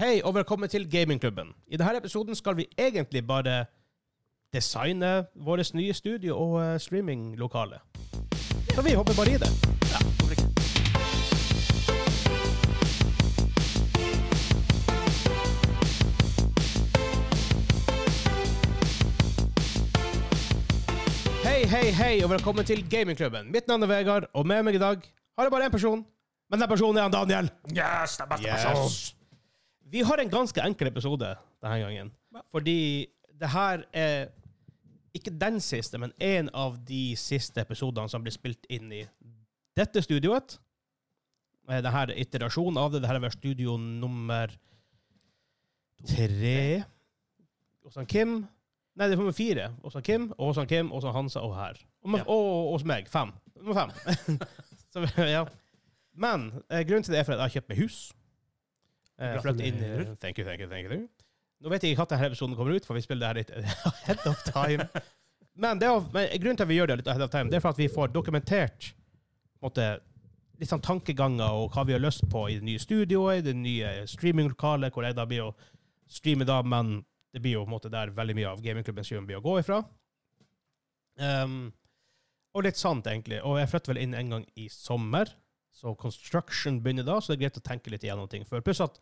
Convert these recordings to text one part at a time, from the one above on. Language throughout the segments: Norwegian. Hei og velkommen til Gamingklubben. I denne episoden skal vi egentlig bare designe vårt nye studio og eh, streaminglokale. Så vi hopper bare i det. Hei, hei, hei, og velkommen til Gamingklubben. Mitt navn er Vegard, og med meg i dag har jeg bare én person. Men den personen er han Daniel. Yes, det er beste Vi har en ganske enkel episode denne gangen. Fordi det her er ikke den siste, men en av de siste episodene som blir spilt inn i dette studioet. Eh, Det her er iterasjonen av det. Det her er vel studio nummer tre hos han Kim. Nei, det er nummer fire hos han Kim, og hos han Kim, og hos han Hansa og her. Og, men- Ja. og hos meg. Fem. Nummer fem. Så, ja. Men eh, grunnen til det er for at jeg har kjøpt meg hus. Eh, flyttet inn Gratulerer. Thank you, thank you, thank you. Nå vet jeg ikke når denne episoden kommer ut, for vi spiller det her litt ahead of time. Men, det er, men grunnen til at vi gjør det litt ahead of time, det er for at vi får dokumentert på en måte, litt sånn tankeganger og hva vi har lyst på i det nye studioet, i det nye streaminglokalet, hvor jeg da blir å streame da, men det blir jo på en måte der veldig mye av gamingklubbens jøm blir å gå ifra. Ehm, og litt sant, egentlig. Og jeg flytter vel inn en gang i sommer, så construction begynner da, så det er greit å tenke litt igjennom ting før. Pluss at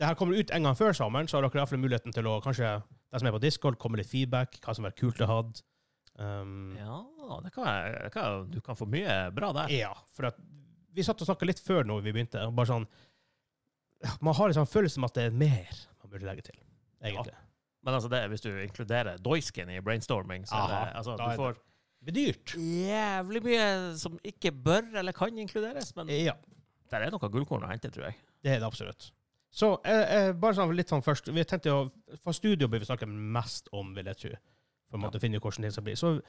det her kommer ut en gang før sommeren, så har dere iallfall muligheten til å kanskje, de som er på Discord, komme litt feedback, hva som har vært kult å ha. Ehm, Mm. Ja, det kan jeg, det kan, du kan få mye bra der. ja, for at vi satt og snakka litt før når vi begynte. og bare sånn, Man har en sånn følelse om at det er mer man burde legge til. egentlig. Men altså det, hvis du inkluderer doisken i brainstorming, så er det, Aha, altså, da er du får Det blir dyrt. jævlig mye som ikke bør eller kan inkluderes, men Ja, der er noe gullkorn å hente, tror jeg. det er det absolutt. Så eh, eh, bare sånn litt sånn først Vi tenkte å, For studio bør vi snakke mest om, vil jeg tro. For å måtte finne ut hvordan det skal bli. Så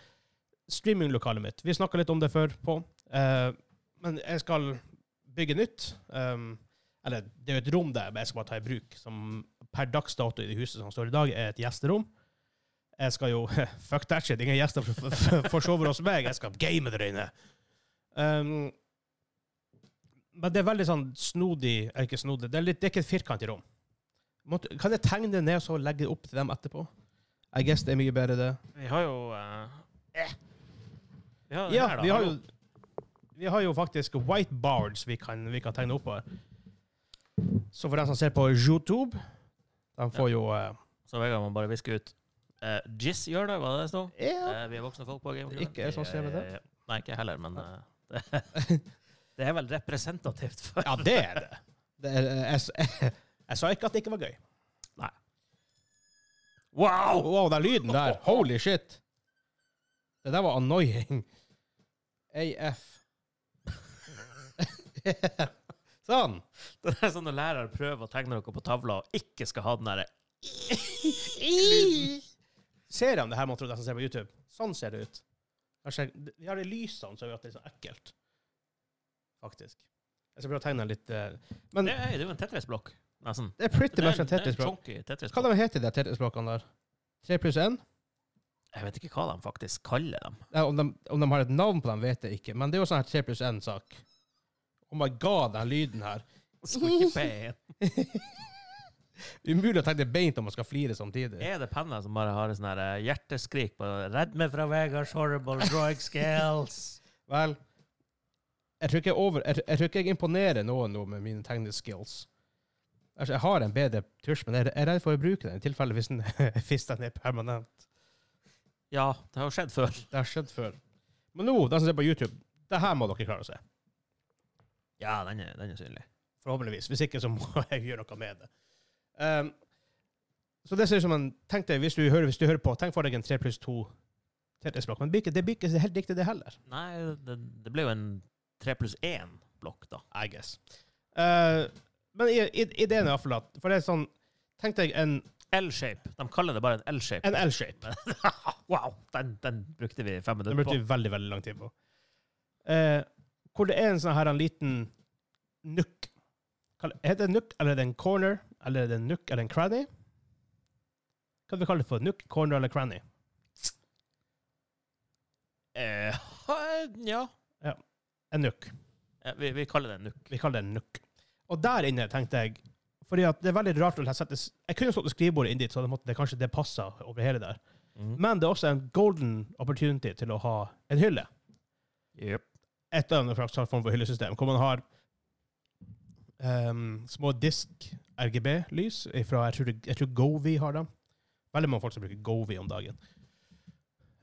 streaminglokalet mitt Vi snakka litt om det før på. Eh, men jeg skal bygge nytt. Um, eller det er jo et rom der, men jeg skal bare ta i bruk. Som per dags dato i det huset som står i dag, er et gjesterom. Jeg skal jo Fuck that shit, ingen gjester for- for- forsover hos meg. Jeg skal game der inne. Um, men det er veldig sånn snodig eller Ikke snodig, det er, litt, det er ikke et firkantig rom. Måtte, kan jeg tegne det ned og så legge det opp til dem etterpå? I guess det er mye bedre, det. Vi har jo eh, eh. Vi har, Ja, her da, vi har hallo. jo Vi har jo faktisk whiteboards vi kan, vi kan tegne opp her. Så for dem som ser på YouTube, de får jo eh, Så Vegard må bare viske ut uh, Jizz gjør det, hva det det står? ja. Eh, vi er voksne folk på Gameklubben. Ikke jeg som ser med det. Nei, ikke jeg heller, men eh, det, det er vel representativt for ja, det er det. det er, eh, jeg, s- jeg sa ikke at det ikke var gøy. Nei. Wow! Wow, den lyden der. Holy shit. Det der var annoying. AF. sånn. Det er sånn når lærere prøver å tegne noe på tavla og ikke skal ha den derre Ser de det her, man tror de som ser på YouTube? Sånn ser det ut. Kanskje, vi har de lysene som gjør at det er så ekkelt. Faktisk. Jeg skal prøve å tegne litt eh, Men Det er det er jo en Tetris-blokk, nesten. det er pretty Det er much en en det er en sånn- Tetris-språk. chunky Hva Tetris-blokk. de heter de der Tetris-språkene der? Tre pluss én? Jeg vet ikke hva de faktisk kaller dem. Ja, om, de, om de har et navn på dem, vet jeg ikke. Men det er jo sånn her 3 pluss 1-sak. Oh my god, den lyden her. Squeaky pen. Umulig å tenke beint om man skal flire samtidig. Er det penner som bare har et sånn her, eh, hjerteskrik på 'Redd meg fra Vegards horrible drawing skills'? Vel, jeg tror ikke jeg, over, jeg, jeg, tror ikke jeg imponerer noen nå med mine tegneskills. Altså, jeg har en bedre tusj, men jeg jeg er redd for å bruke den i tilfelle hvis den, hvis den er permanent. Ja, det har jo skjedd før. Det har skjedd før. Men nå, de som ser på YouTube, det her må dere klare å se. Ja, den er, den er synlig. Forhåpentligvis. Hvis ikke, så må jeg gjøre noe med det. Ehm, så det ser ut som en Tenk deg, hvis du hører, hvis du hører på, tenk for deg en 3 pluss 2 tetrisblokk. Men det blir ikke- det blir ikke helt riktig, det heller. Nei, det, det ble jo en tre pluss én-blokk, da. I guess. Eh, men i, i, ideen er iallfall at For det er sånn Tenk deg en, L-shape. De kaller det bare en L-shape. en L-shape. wow! Den, den brukte vi fem Den minutter brukte på. vi veldig, veldig lang tid på. Eh, hvor det er en sånn her en liten nook. Kall- Heter det nook, eller er det en corner? Eller er det en nook, eller en cranny? Hva vi kaller det for? Nook, corner eller cranny? Eh, ha- ja. En nook. Ja, Vi, vi kaller det en nuk. Vi kaller det en nook. Og der inne tenkte jeg Fordi at det er veldig rart å sette Jeg kunne stått ved skrivebordet inn dit, så hadde jeg måttet- det kanskje det passa over hele der. Mhm. Men det er også en golden opportunity til å ha en hylle. Jep. Et eller annet slags form for hyllesystem, hvor man har ehm, små disk-RGB-lys fra jeg tror, det- jeg tror Govi har dem. Veldig mange folk som bruker Govi om dagen.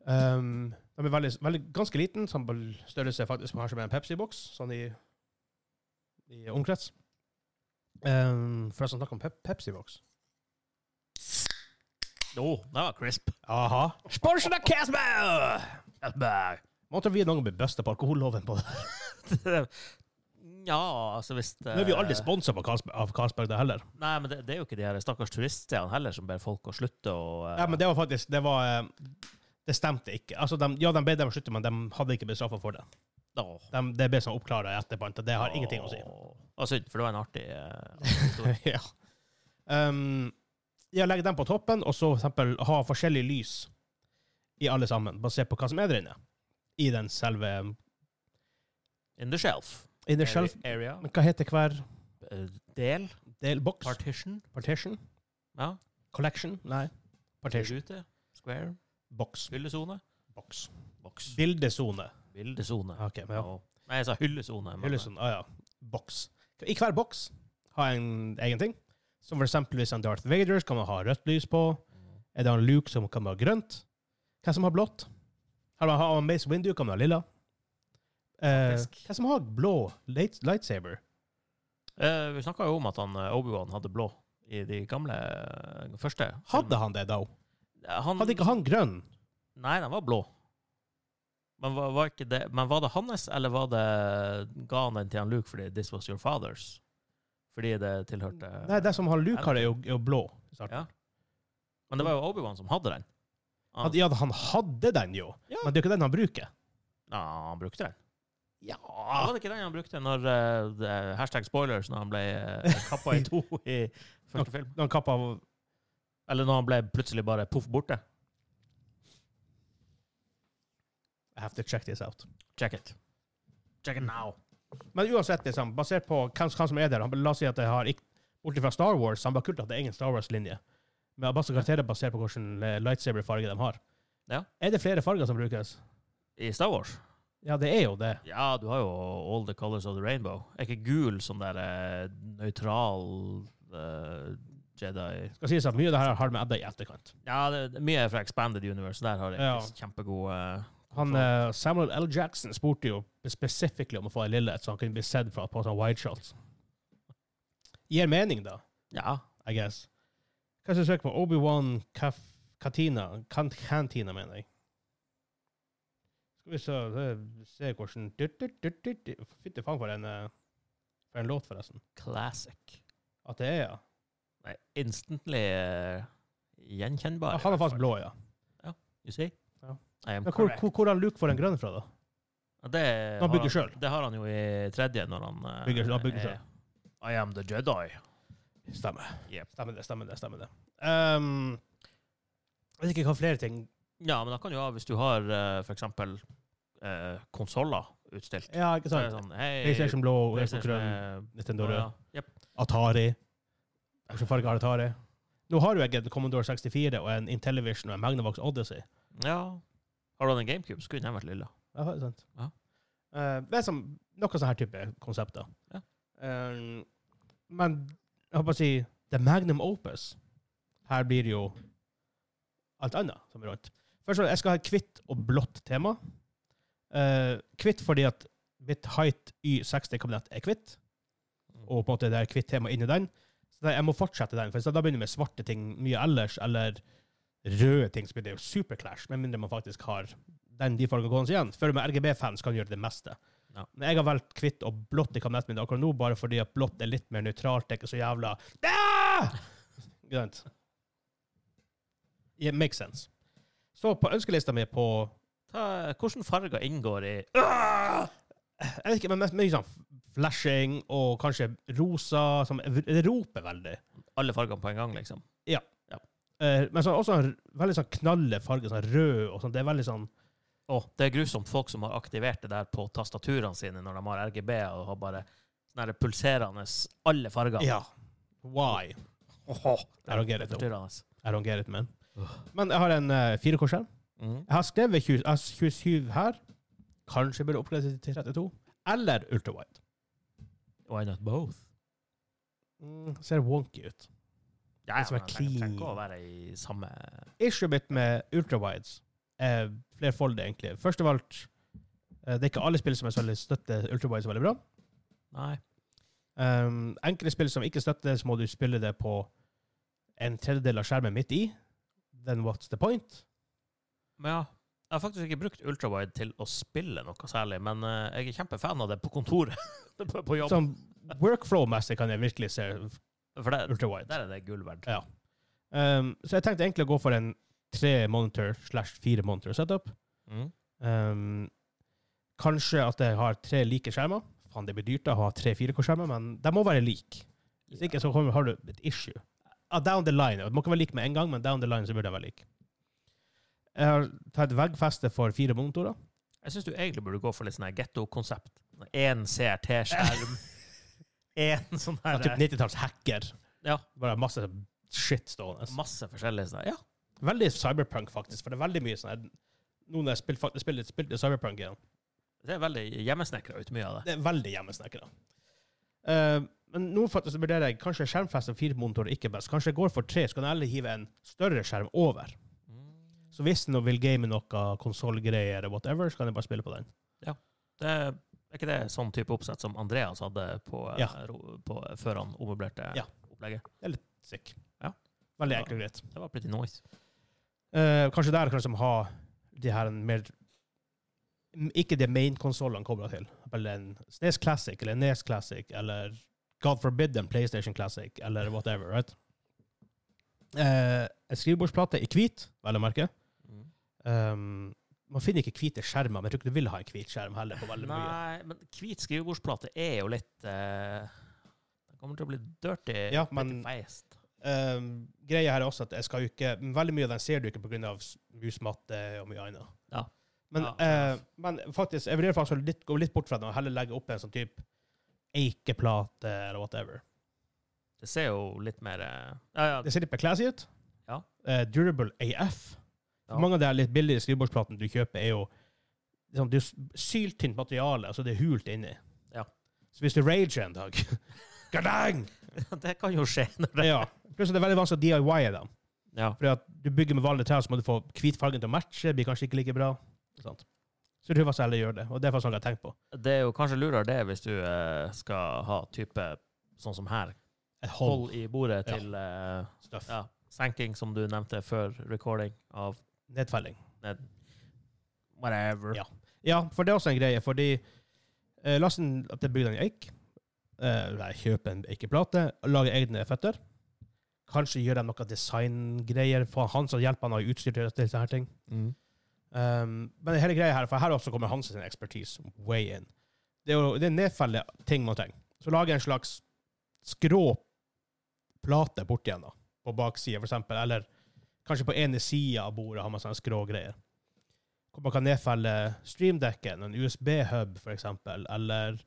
Ehm, de er veldig, veldig, ganske liten, samme størrelse faktisk som har som en Pepsi-boks, sånn i, i omkrets. Um, Forresten, snakk om pep Pepsi-boks. Å, det var crisp. Aha. Sponsen av Casper! Casper. Måtte vi noen gang bli busta på alkoholloven på det? Ja, altså hvis det, Nå er vi jo aldri sponsa av Carlsberg, det heller. Nei, men det, det er jo ikke de her stakkars turiststedene heller som ber folk å slutte å eh, Ja, men det var faktisk Det var eh, Det stemte ikke. Altså, de, ja, de ble dem å slutte, men de hadde ikke blitt straffa for det. å, De, det ble sånn oppklara i etterkant, og det har ingenting å si. å. Det var synd, for det var en artig eh, historie. ja. Um, ja, legge dem på toppen, og så for eksempel ha forskjellig lys i alle sammen, basert på hva som er der inne. I den selve In the shelf. In the shelf. Area. Men hva heter hver Eh, Del. del? Boks? Partition. Partition? Ja. Collection? Nei. Partition. Rute. Square. Boks. Hyllesone. Boks. Boks. Bildesone. Bildesone. Ok, men ja. Å. Nei, jeg sa hyllesone. men- Hyllesund, ah, ja. Boks. I hver boks har jeg en egen ting. Som for eksempel hvis en Darth Vader kan man ha rødt lys på. eh, Er det en Luke som kan ha grønt? Hvem som har blått? Har man har man Mace Windu, kan man ha lilla. Eh, Faktisk. hvem som har blå light, lightsaber? Eh, vi snakka jo om at han eh, Obi-Wan hadde blå i de gamle eh, første. Hadde han det, da? han, han Hadde ikke han grønn? Nei, den var blå. Men var, var ikke det Men var det hans, eller var det ga han den til han Luke fordi 'this was your father's'? Fordi det tilhørte Nei, det som han Luke har, er jo, er jo blå. i starten. Ja. Men det var jo Obi-Wan som hadde den. Han, At, ja, han hadde den jo, Ja. men det er jo ikke den han bruker. ja, han brukte den. Ja. Var det ikke den han brukte når eh, det- hashtag spoilers når han ble uh, kappa i to i første film? Når han kappa av Eller når han ble plutselig bare poff borte? I have to check this out. Check it. Check it now. Men uansett, liksom, basert på hvem, hvem som er der han- La oss si at jeg har ikke Bortsett fra Star Wars, han bare kult at det er egen Star Wars-linje. Men masse karakterer basert på hvilken eh, lightsaber-farge de har. Ja. Er det flere farger som brukes? I Star Wars Ja, det er jo det. Ja, du har jo All the Colors of the Rainbow. Er ikke gul sånn der eh, nøytral eh, Jedi Skal sies at mye av det her har med Edda i etterkant. Ja, det, det, mye er fra Expanded Universe. Der har de Ja. kjempegode eh, Han, kontroll. eh, Samuel L. Jackson spurte jo specifically om å få en lille, så han kunne bli sett fra på sånn wide shots. Gir mening, da, Ja. I guess. Hva skal jeg søke på? Obi-Wan Kaf- Katina kan Cantina, mener jeg. Skal vi se, det- se hvordan dyrt, dyrt, dyrt, dyrt, dyrt. Fytti faen for en, eh, for en låt, forresten. Classic. At det er, ja. Nei, instantly eh, Han er gjenkjennbar. i hvert faktisk fall. blå, ja. You see? Ja. I am Men hvor, correct. hvor, hvor har Luke får en grønn fra, da? Ja, det Når han har bygger selv. Det har han jo i tredje, når han eh, Bygger- han bygger er- selv. I am the Jedi. Stemmer. Yep. Stemmer det, stemmer det. stemmer det. Ehm, jeg vet ikke hva flere ting Ja, men da kan jo ha, hvis du har eh, for eksempel uh, konsoller utstilt Ja, ikke Så er det sant? sånn, hei, PlayStation eh, blå, Xbox PlayStation grønn, er- Nintendo Å, rød. ja. Jep. Atari. Hvilken farge har Atari? Nå har jo jeg en Commodore 64 og en Intellivision og en Magnavox Odyssey. ja. Har du hatt en GameCube, skulle den vært lilla. Ja, det er sant. Ja. Eh, det er som, noe sånn her type konsepter. Ja. Eh, men jeg håper å si The Magnum Opus. Her blir det jo alt annet som er rundt. Først og fremst, jeg skal ha et hvitt og blått tema. Eh, hvitt fordi at mitt Height Y60-kabinett er hvitt, Mm. og på en måte det er hvitt tema inni den. Så da- jeg må fortsette den, for da begynner jeg med svarte ting mye ellers, eller røde ting, så blir det jo superclash, med mindre man faktisk har den de fargene gående igjen. Før med RGB-fans kan gjøre det meste. Ja. Men jeg har valgt hvitt og blått i kabinettet mitt akkurat nå, bare fordi at blått er litt mer nøytralt. Det er ikke så jævla ah! Ikke sant? Yeah, makes sense. Så på ønskelista mi på Ta- Hvilke farger inngår i Jeg vet ikke, men mest- mye sånn flashing og kanskje rosa som Det roper veldig. alle fargene på en gang, liksom? Eh, men så, også en veldig sånn knalle farge, sånn rød og sånn. Det er veldig sånn Å, det er grusomt folk som har aktivert det der på sånn tastaturene sine når de har RGB og har bare sånne her pulserende alle farger. Ja. Why? I don't get it, though. Forstyrrende. I don't get it, man. Men jeg har en uh, 4K-skjerm. Mhm. Jeg har skrevet 20, jeg har 27 her. Kanskje burde oppgradere til 32. Eller ultrawide. Why not both? Mm, ser wonky ut. Ja, Det skal være men jeg trenger clean. ikke å være i samme Issue mitt med ultrawides er flerfoldig, egentlig. Først av alt, eh, det er ikke alle spill som er så veldig støtter ultrawides veldig bra. Nei. Um, enkle spill som ikke støtter det, så må du spille det på en tredjedel av skjermen midt i. Then what's the point? Men ja. Jeg har faktisk ikke brukt ultrawide til å spille noe særlig, men eh, jeg er kjempefan av det på kontoret. på, på jobb. Sånn workflow-messig kan jeg virkelig se For det, ultrawide. der er det gull verdt. Ja. Um, så jeg tenkte egentlig å gå for en tre monitor slash fire monitor setup. Mm. Um, kanskje at jeg har tre like skjermer. Faen, det blir dyrt å ha tre 4K-skjermer, men de må være like. Hvis ikke så kommer, har du et issue. Ah, down the line. Det må ikke være like med en gang, men down the line så burde de være like. Jeg har tatt veggfeste for fire monitorer. Jeg syns du egentlig burde gå for litt sånn her getto-konsept. Én CRT-skjerm. Én sånn Ja, her typ 90-talls hacker. Ja. Bare masse shit stående. eh, Masse forskjellige sånne. Ja. Veldig cyberpunk, faktisk. For det er veldig mye sånn her- Nå når jeg spilte spilt, spilt, cyberpunk igjen, Det er veldig hjemmesnekra ut, mye av det. det er veldig hjemmesnekra. Eh, men nå faktisk vurderer jeg kanskje skjermfest og fire monitorer ikke best. Kanskje jeg går for tre, så kan jeg heller hive en større skjerm over. Mm. Så hvis noen vil game noe konsollgreier eller whatever, så kan jeg bare spille på den. det er er ikke det sånn type oppsett som Andreas hadde på, eh, Ja. ro- på før han ommøblerte Ja. opplegget? Sick. Ja. Veldig Ja. enkelt og greit. Det var pretty nice. Eh, kanskje der kan de ha de her en mer m- Ikke de main-konsollene kobla til. Eller en SNES Classic eller en NES Classic eller God forbid en PlayStation Classic eller whatever, right? Eh, en skrivebordsplate i hvit, vel å merke. Mm. Um, man finner ikke hvite skjermer, men jeg tror ikke du vil ha en hvit skjerm heller. på veldig mye. Nei, men hvit skrivebordsplate er jo litt eh, Det kommer til å bli dirty. Ja, pretty men- fast. Um, greia her er også at jeg skal jo ikke, veldig mye av den ser du ikke pga. musmatte og mye annet. Ja. Men, Ja, fair eh, men faktisk, jeg vurderer faktisk å litt, gå litt bort fra den og heller legge opp en sånn type eikeplate eller whatever. Det ser jo litt mer eh, Ja, ja. Det ser litt mer classy ut. Ja. Eh, durable AF. Ja. Mange av de her litt billige skrivebordsplatene du kjøper, er jo liksom, det er jo syltynt materiale, altså det er hult inni. Ja. Så hvis du rager en dag Gadang! det kan jo skje. Når det, Ja. Plutselig er det veldig vanskelig å DIY-e dem. ja. Fordi at du bygger med vanlige trær, så må du få hvitfargen til å matche. Det blir kanskje ikke like bra. Ikke Sant? Så jeg tror faktisk heller gjør det. Og det er faktisk noe jeg har tenkt på. det er jo kanskje lurere det hvis du eh, skal ha type sånn som her. Et hold Hold i bordet Ja. til eh, stuff. ja, senking, som du nevnte før recording av Nedfelling. whatever. Ja. Ja, for det er også en greie, fordi eh, la oss si at jeg bygger en eik. Eh, nei, kjøper en eikeplate, lager egne føtter. Kanskje gjør de noe designgreier. Faen, Han som hjelper han har jo utstyr til til sånne her ting. Um, men hele greia her, for her også kommer hans sin ekspertise way in. Det er jo det er nedfelle ting man trenger. Så lage en slags skrå plate borti en da, på baksida for eksempel, eller kanskje på ene sida av bordet har man sånne skrå greier. Hvor man kan nedfelle streamdekken, en USB-hub for eksempel, eller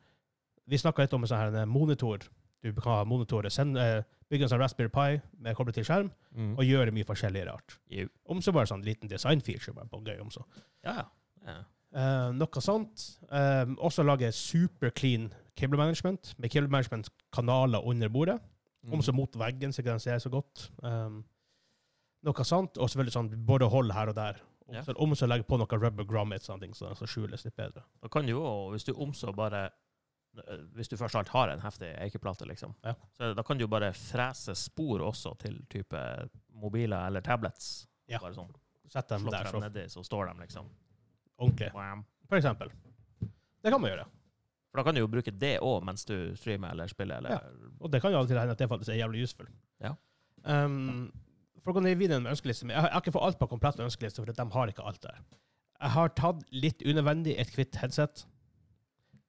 vi snakket litt om en sånn her en monitor. Du kan ha monitorer, send, eh, bygge en sånn Raspberry Pi med koblet til skjerm, Mm. og gjøre mye forskjellig rart. Jo. Om så bare sånn liten design-feature, bare på gøy om så. Ja, ja. ja. Eh, noe sånt. Eh, også lage super clean cable management, med cable management-kanaler under bordet. Mm. Om så mot veggen, så ikke den ser så godt. Um, noe sånt. Og selvfølgelig sånn både hold her og der. Om, Ja. så, om så legge på noe rubber grommets, sånne ting, så den skal skjules litt bedre. Da kan du jo, hvis du omså bare eh, Hvis du først alt har en heftig eikeplate, liksom, Ja. så da kan du jo bare frese spor også til type mobiler eller tablets. Ja. Bare sånn. Sett dem Slått der, dem så nedi, så står de liksom. ordentlig. Wham. For eksempel. Det kan man gjøre. For da kan du jo bruke det òg mens du streamer eller spiller. Eller, Og det kan jo alltid hende at det faktisk er jævlig useful. Ja. Um, for å gå ned videre med ønskelisten min. Jeg har jeg har ikke fått alt på komplett med ønskeliste, for de har ikke alt der. Jeg har tatt litt unødvendig et kvitt headset.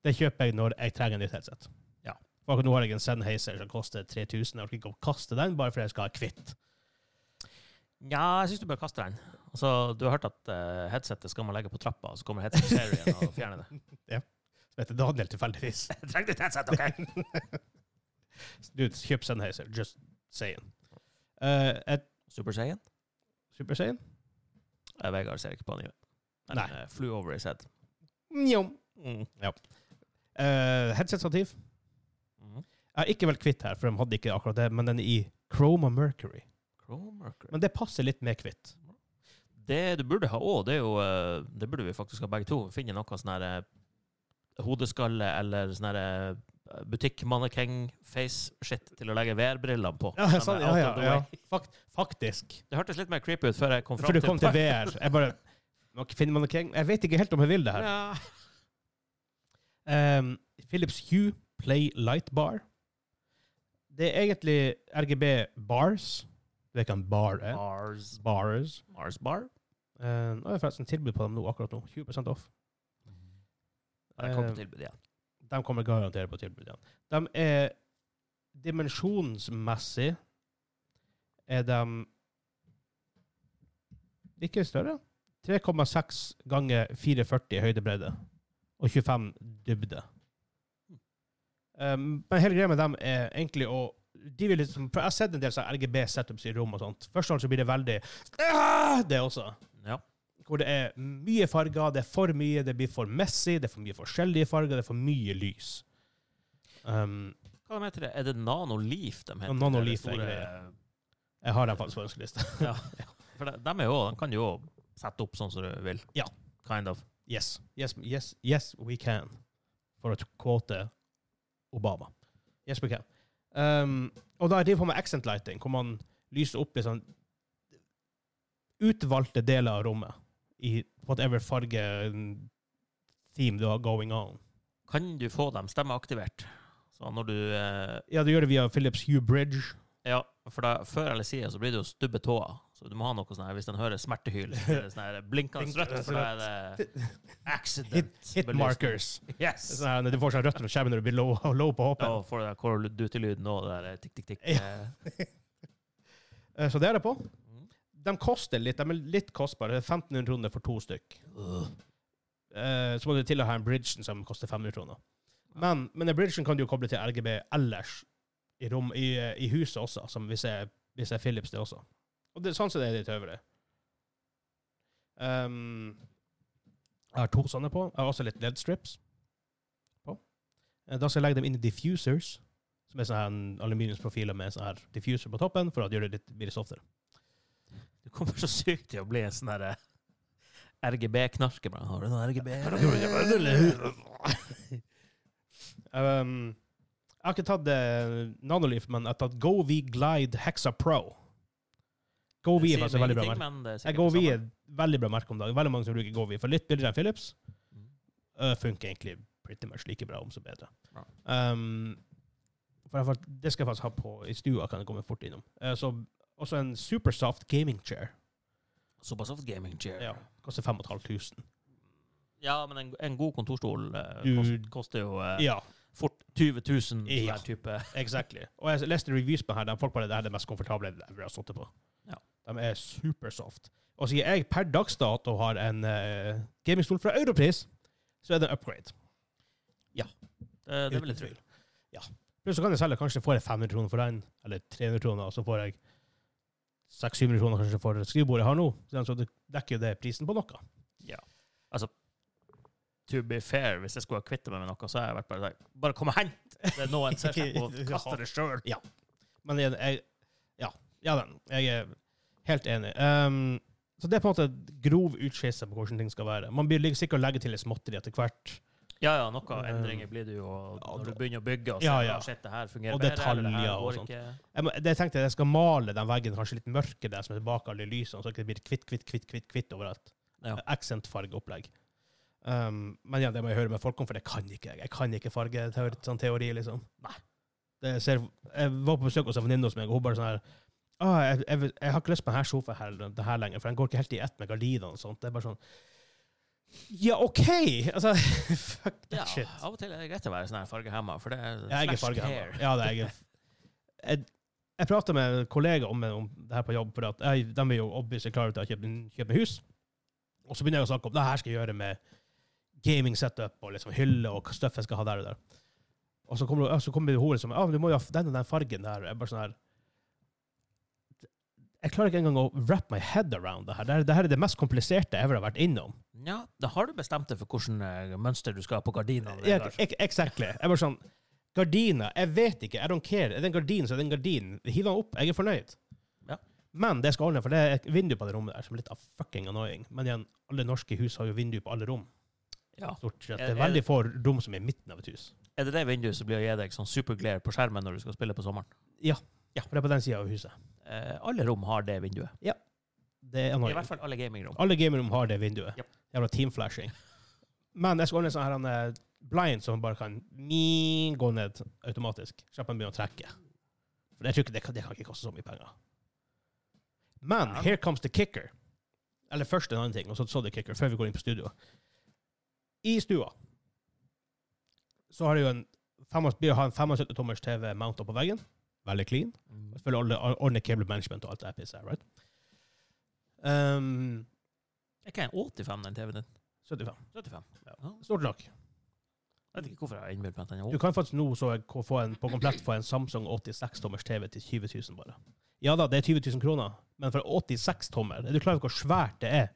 Det kjøper jeg når jeg trenger et nytt headset. Ja. For akkurat nå har jeg en Sennheiser som koster 3000. Jeg orker ikke å kaste den bare fordi jeg skal ha kvitt. Ja, jeg syns du bør kaste den. Altså, du har hørt at eh, headsetet skal man legge på trappa, og så kommer headset-serien og fjerner det. Som heter Daniel tilfeldigvis. Jeg trengte et headset, OK? Du, kjøp Sennheiser. Just saying. Eh, et Super Saiyan? Super Saiyan? Eh, Vegard ser ikke på anime. Men Nei. eh, flew over his head. Njom. Mm. Eh, Headset-stativ. Mm. Jeg har ikke vært kvitt her, for de hadde ikke akkurat det, men den er i Chroma Mercury. Mercury. Men det passer litt med kvitt. Det du burde ha òg, det er jo eh, Det burde vi faktisk ha begge to. Finne noe sånn her eh, hodeskalle eller sånn her eh, butikkmannekeng-face-shit til å legge VR-brillene på. Ja, Som sånn, er ja, out ja, of the ja. way. Fakt, faktisk. Det hørtes litt mer creepy ut før jeg kom fram For du kom til VR. Jeg bare Nå finner man ikke Jeg vet ikke helt om jeg vil det her. Ja. Ehm, Philips Hue Play Light Bar. Det er egentlig RGB bars. Du vet hva en bar er? Mars, Bars. Mars Bar? Eh, Nå er det forresten tilbud på dem nå, akkurat nå. 20 off. Mm-hmm. Jeg kom Eh, på tilbud igjen. De kommer garantert på tilbud igjen. De er dimensjonsmessig er de ikke større. 3,6 ganger 440 i høydebredde og 25 dybde. Um, men hele greia med dem er egentlig å de vil liksom, for Jeg har sett en del sånne RGB-setups i rom og sånt. Først og fremst så blir det veldig «Ah!» Det også Ja. hvor det er mye farger, det er for mye, det blir for messy, det er for mye forskjellige farger, det er for mye lys. Um, Hva de heter det? Er det Nanoleaf de heter? Nano Det er det Leaf, store- egentlig. jeg har dem faktisk på ønskelista. Ja. For de, de, er jo, de kan jo sette opp sånn som du vil. Ja. Kind of. Yes, yes, yes, yes, we can. For å quote Obama. Yes, we can. Um, og da driver jeg på med accent lighting, hvor man lyser opp liksom utvalgte deler av rommet i whatever farge mm, theme du har going on. Kan du få dem stemmeaktivert? Så når du eh, Ja, du gjør det via Philips Hue Bridge. Ja, for da, før eller siden så blir det jo stubbe tåa. Så du må ha noe sånn her hvis den hører smertehyl. så er det Sånn her blinkende Blinkende rødt, for da er det accident. Hit belysning. markers. Yes! Sånn her, når du får sånn rødt under skjermen når du blir low, low på Ja, hoppet. og får det der Call of Duty-lyden og det der tikk-tikk-tikk. eh. Eh, Så det er det på. De koster litt. De er litt kostbare. Det er 1500 kroner for to stykk. Mm. Eh, Så må du til å ha en Bridgen som koster 500 kroner. Men, men en Bridgen kan du jo koble til RGB ellers i, rom, i, eh, i huset også, som vi ser, vi ser Philips det også. Og det, sånn som det er litt øvrig. Ehm, jeg har to sånne på. Jeg har også litt LED strips på. Eh, Da skal jeg legge dem inn i diffusers, som er sånne her aluminiumsprofiler med sånne her diffuser på toppen, for å gjøre det litt blir det softere. Du kommer så sykt til å bli en sånn eh, herre RGB-knarker. bare, Har du noe RGB? Um, jeg har ikke tatt eh, Nanoleaf, men jeg har tatt GoV Glide Hexa Pro. GoV er Det sier faktisk et meg veldig bra ingenting, merke. men det er Eh, sikkert GoV det er et veldig bra merke om dagen. Veldig mange som bruker GoV. For litt billigere enn Philips samme. uh, funker egentlig pretty much like bra, om så bedre. Ja. Um, for jeg, fakt- det skal jeg faktisk ha på i stua, kan jeg komme fort innom. Eh, så, også en supersoft gaming chair. Såpass soft gaming chair. Ja, koster 5500. Ja, men en, en god kontorstol eh, Du- kost, koster jo eh, Ja, fort 20 000 for Ja. hver type. exactly. Og jeg leste reviews på den her, der folk bare det her er det mest komfortable jeg har sittet på. Ja. De er supersoft. Og siden jeg per dags dato har en eh, gamingstol fra Europris, så er det en upgrade. Det, Eh, det vil jeg Uten tro. tvil. Ja. Pluss så kan jeg selge, kanskje får jeg 500 kroner for den, eller 300 kroner, og så får jeg 600 kroner kanskje for skrivebordet jeg har nå. Så den- Så det dekker jo det prisen på noe. Ja. Altså, to be fair, hvis jeg skulle ha kvittet meg med noe, så har jeg vært bare sånn Bare kom og hent! Det er noen ser seg på og kaster det sjøl. Men jeg, jeg ja, ja, den. Jeg er helt enig. Ehm, så det er på en måte grov utskisse på hvordan ting skal være. Man blir ligger sikkert å legge til litt småtteri etter hvert. Ja, ja, noen Eh, endringer blir det jo ja, når du det- begynner å bygge. Og, Ja, ser, ja. «Ah, Shit, det her fungerer Og bedre, eller det her detaljer og går sånt. ikke». Jeg, må- det jeg tenkte jeg skal male den veggen kanskje litt mørke, den som er tilbake alle lysene, så ikke det blir kvitt, kvitt, kvitt, kvitt, kvitt overalt. Ja. Accentfargeopplegg. Ehm, men igjen, det må jeg høre med folk om, for det kan ikke jeg. Jeg kan ikke fargeteori, sånn teori, liksom. Nei. Det ser, jeg var på besøk hos en venninne hos meg, og hun bare sånn her ah, jeg, jeg, vil- jeg har ikke lyst på denne sofaen her, det her lenger, for den går ikke helt i ett med gardinene og sånt. Det er bare sånn Ja, OK! Altså, fuck that Ja, shit. av og til er det greit å være sånn her fargehemma, for det er Jeg er slashed fargehemma. hair. Ja, det er jeg. Jeg, jeg prata med en kollega om, om det her på jobb, for at jeg, de er jo obviously klare til å kjøpe, kjøpe hus. Og så begynner jeg å snakke om det her skal jeg gjøre med gaming setup og liksom hylle og hva stuff jeg skal ha der og der. Og så kommer, og så kommer det i hodet som ah, men du må jo ha den og den fargen der. Jeg, bare sånn her, jeg klarer ikke engang å wrap my head around det her. Det, her. det her er det mest kompliserte jeg ever har vært innom. Ja, da har du bestemt deg for hvilket eh, mønster du skal ha på gardinene. Ja, Vegard. ek- exactly. Jeg bare sånn Gardiner Jeg vet ikke. I don't care. Er det en gardin, så er det en gardin. Hiv den opp. Jeg er fornøyd. Ja. Men det skal ordne, for det er et vindu på det rommet der som er litt av fucking annoying. Men igjen, alle norske hus har jo vindu på alle rom. Ja. Stort sett. Det Er- er er veldig det- få rom som er i midten av et hus. Er det det vinduet som blir å gi deg sånn superglare på skjermen når du skal spille på sommeren? For det er på den sida av huset. Eh, alle rom har det vinduet. Det er I annoying. hvert fall alle gamingrom. Alle gamerom har det vinduet. Japp. Jævla teamflashing. Men jeg skal ordne en sånn her en eh, blind som bare kan ming, gå ned automatisk. Slipp den begynne å trekke. For jeg tror ikke det, kan- det kan ikke koste så mye penger. Men Ja. here comes the kicker. Eller først en annen ting, og så så the kicker, før vi går inn på studio. I stua så har jeg jo en femmas- blir å ha en 75-tommers TV mounta på veggen. Veldig clean. Mm. Selvfølgelig ordne- ordne cable management og alt det her pisset her, right? Um, Er ikke en 85, den TV-en din? 75. 75. Ja. Stort nok. Jeg vet ikke hvorfor jeg har innbilt meg at den Du er 80. kan faktisk nå så jeg ko- få en, på komplett få en Samsung 86-tommers TV til 20 000 bare. Ja da, det er 20 000 kroner, men for 86-tommer Er du klar over hvor svært det er?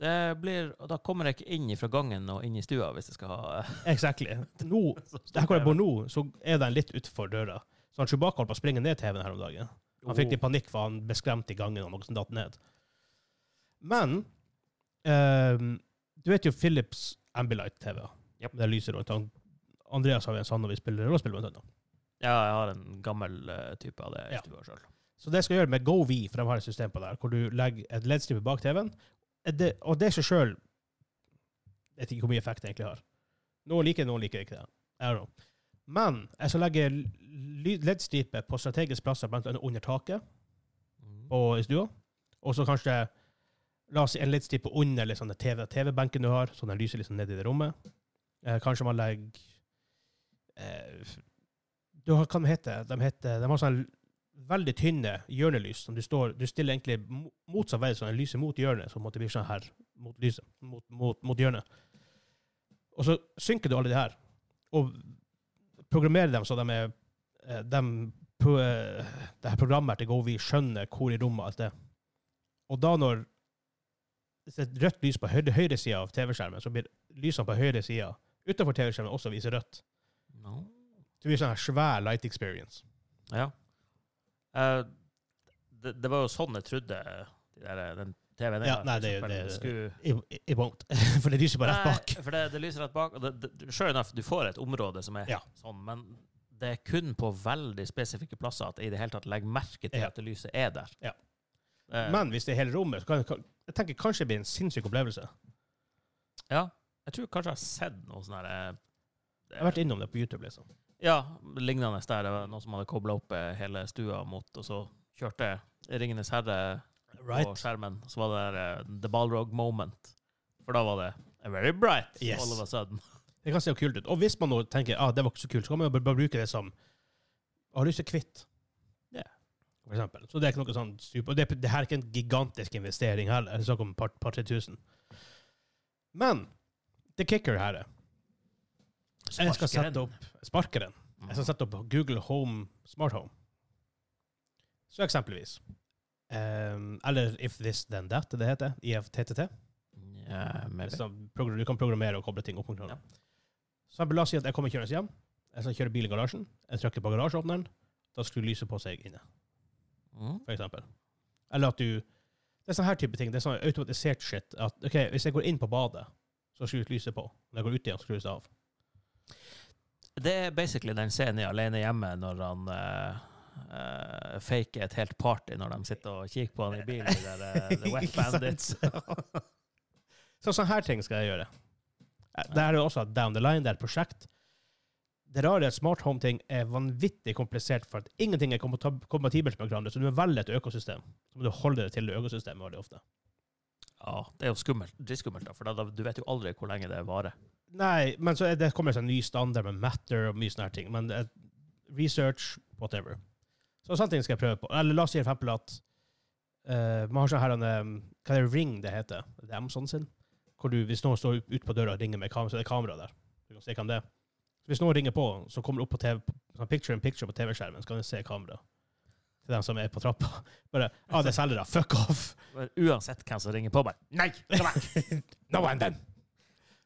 Det blir, og da kommer jeg ikke inn fra gangen og inn i stua hvis jeg skal ha eh, Exactly. Nå, så stor der hvor jeg TV. bor nå, så er den litt utenfor døra. Så han Chewbacca holdt på å springe ned TV-en her om dagen. Han fikk litt panikk, for han ble skremt i gangen og noe som datt ned. Men ehm, Du vet jo Philips Ambilight-TV. Japp. Det lyser rundt. Han, Andreas har jo en sånn når vi spiller rollespill, blant annet. Ja, jeg har en gammel eh, type av det i Ja. stua sjøl. Så det skal jeg gjøre med GoV, for de har et system på der, hvor du legger et LED-stripe bak TV-en. Er det- Og det i seg sjøl Jeg vet ikke hvor mye effekt det egentlig har. Noen liker det, noen liker ikke det. I don't know. Men jeg skal legge ly- LED-stripe på strategiske plasser, blant annet under taket Mm. og i stua. Og så kanskje la oss si en LED-stripe under liksom, den TV TV-benken du har, så den lyser liksom ned i det rommet. Eh, kanskje man legger eh, du har, Hva de heter de? Heter, de har sånn veldig tynne hjørnelys som du står Du stiller egentlig mo- motsatt vei, så den lyser mot hjørnet, så på en måte blir sånn her mot lyset, mot, mot, mot hjørnet. Og så synker du alle de her, og programmerer dem så de er eh, de, pro, eh, det her programmet til GoVi skjønner hvor i rommet alt er. Og da når hvis det er et rødt lys på høyre, høyre sida av TV-skjermen, så blir lysene på høyre sida utenfor TV-skjermen også viser rødt. No. Så det blir sånn her svær light experience. Ja. Eh, det, det var jo sånn jeg trodde de der, eh, den TV-en Ja, nei, det er jo- liksom, for det er- skulle- It, it it won't, for det lyser bare rett bak. Nei, for det, det lyser rett bak. Og det, det, sure enough, du får et område som er Ja. sånn, men det er kun på veldig spesifikke plasser at jeg i det hele tatt legger merke til Ja. at det lyset er der. Ja. Eh, Men hvis det er hele rommet, så kan kan- jeg tenker kanskje det blir en sinnssyk opplevelse. ja, jeg tror kanskje jeg har sett noe sånn her eh, Jeg har vært innom det på YouTube. liksom. Ja, lignende der. Det var noen som hadde kobla opp eh, hele stua mot, og så kjørte Ringenes herre på skjermen. Så var det der eh, The Balrog Moment. For da var det Very bright, Yes. all of a sudden. Det kan se kult ut. Og hvis man nå tenker ah, det var ikke så kult, så kan man jo bare- bare bruke det som har lyst til kvitt. Ja. For eksempel. Så det er ikke noe sånn super... Og det, det her er ikke en gigantisk investering heller. Det er snakk om par, par 3000. Men the kicker her er Jeg skal Sparker sette den. Mm. opp sparkeren. Jeg skal sette opp Google Home Smart Home. Så eksempelvis. Ehm, eller If This Then That, det heter. IFTTT. Ja, maybe. Så progr- Du kan programmere og koble ting opp mot hverandre. Ja. Så la oss si at jeg kommer kjørende hjem. Jeg skal kjøre bil i garasjen. Jeg trykker på garasjeåpneren. Da skrur lyset på seg inne, Mm. for eksempel. Eller at du Det er sånn her type ting. Det er sånn automatisert shit. At ok, hvis jeg går inn på badet, så skrur lyset på. Når jeg går ut igjen, skrus det av. Det er basically den scenen i Alene hjemme når han eh, eh, faker et helt party når de sitter og kikker på han i bilen. i det Der, eh, the Wet Ikke sant? Bandits. Så sånne her ting skal jeg gjøre. Eh, Det her er jo også et down the line, det er et prosjekt. Det rare er at smart home-ting er vanvittig komplisert, for at ingenting er kompata- kompatibelt med hverandre, så du må velge et økosystem. Så må du holde det til det økosystemet veldig ofte. Ja, det er jo skummelt, dritskummelt, da, for da, da, du vet jo aldri hvor lenge det varer. Nei, men så er det kommer en ny standard med matter og mye sånne her ting. Men det er research, whatever. Så sånne ting skal jeg prøve på. Eller la oss si for eksempel at eh, man har sånn her en, eh, Hva er det Ring det heter? Det er Amazon sin. Hvor du, hvis noen står ute på døra og ringer med kamera, så er det kamera der. Du kan se hvem det er. Så Hvis noen ringer på, så kommer det opp på TV, sånn picture in picture på TV-skjermen, så kan du se kamera. Til dem som er på trappa. Bare Ja, ah, det er selgere. Fuck off! Men Uansett hvem som ringer på, bare Nei! Kom her! No and then!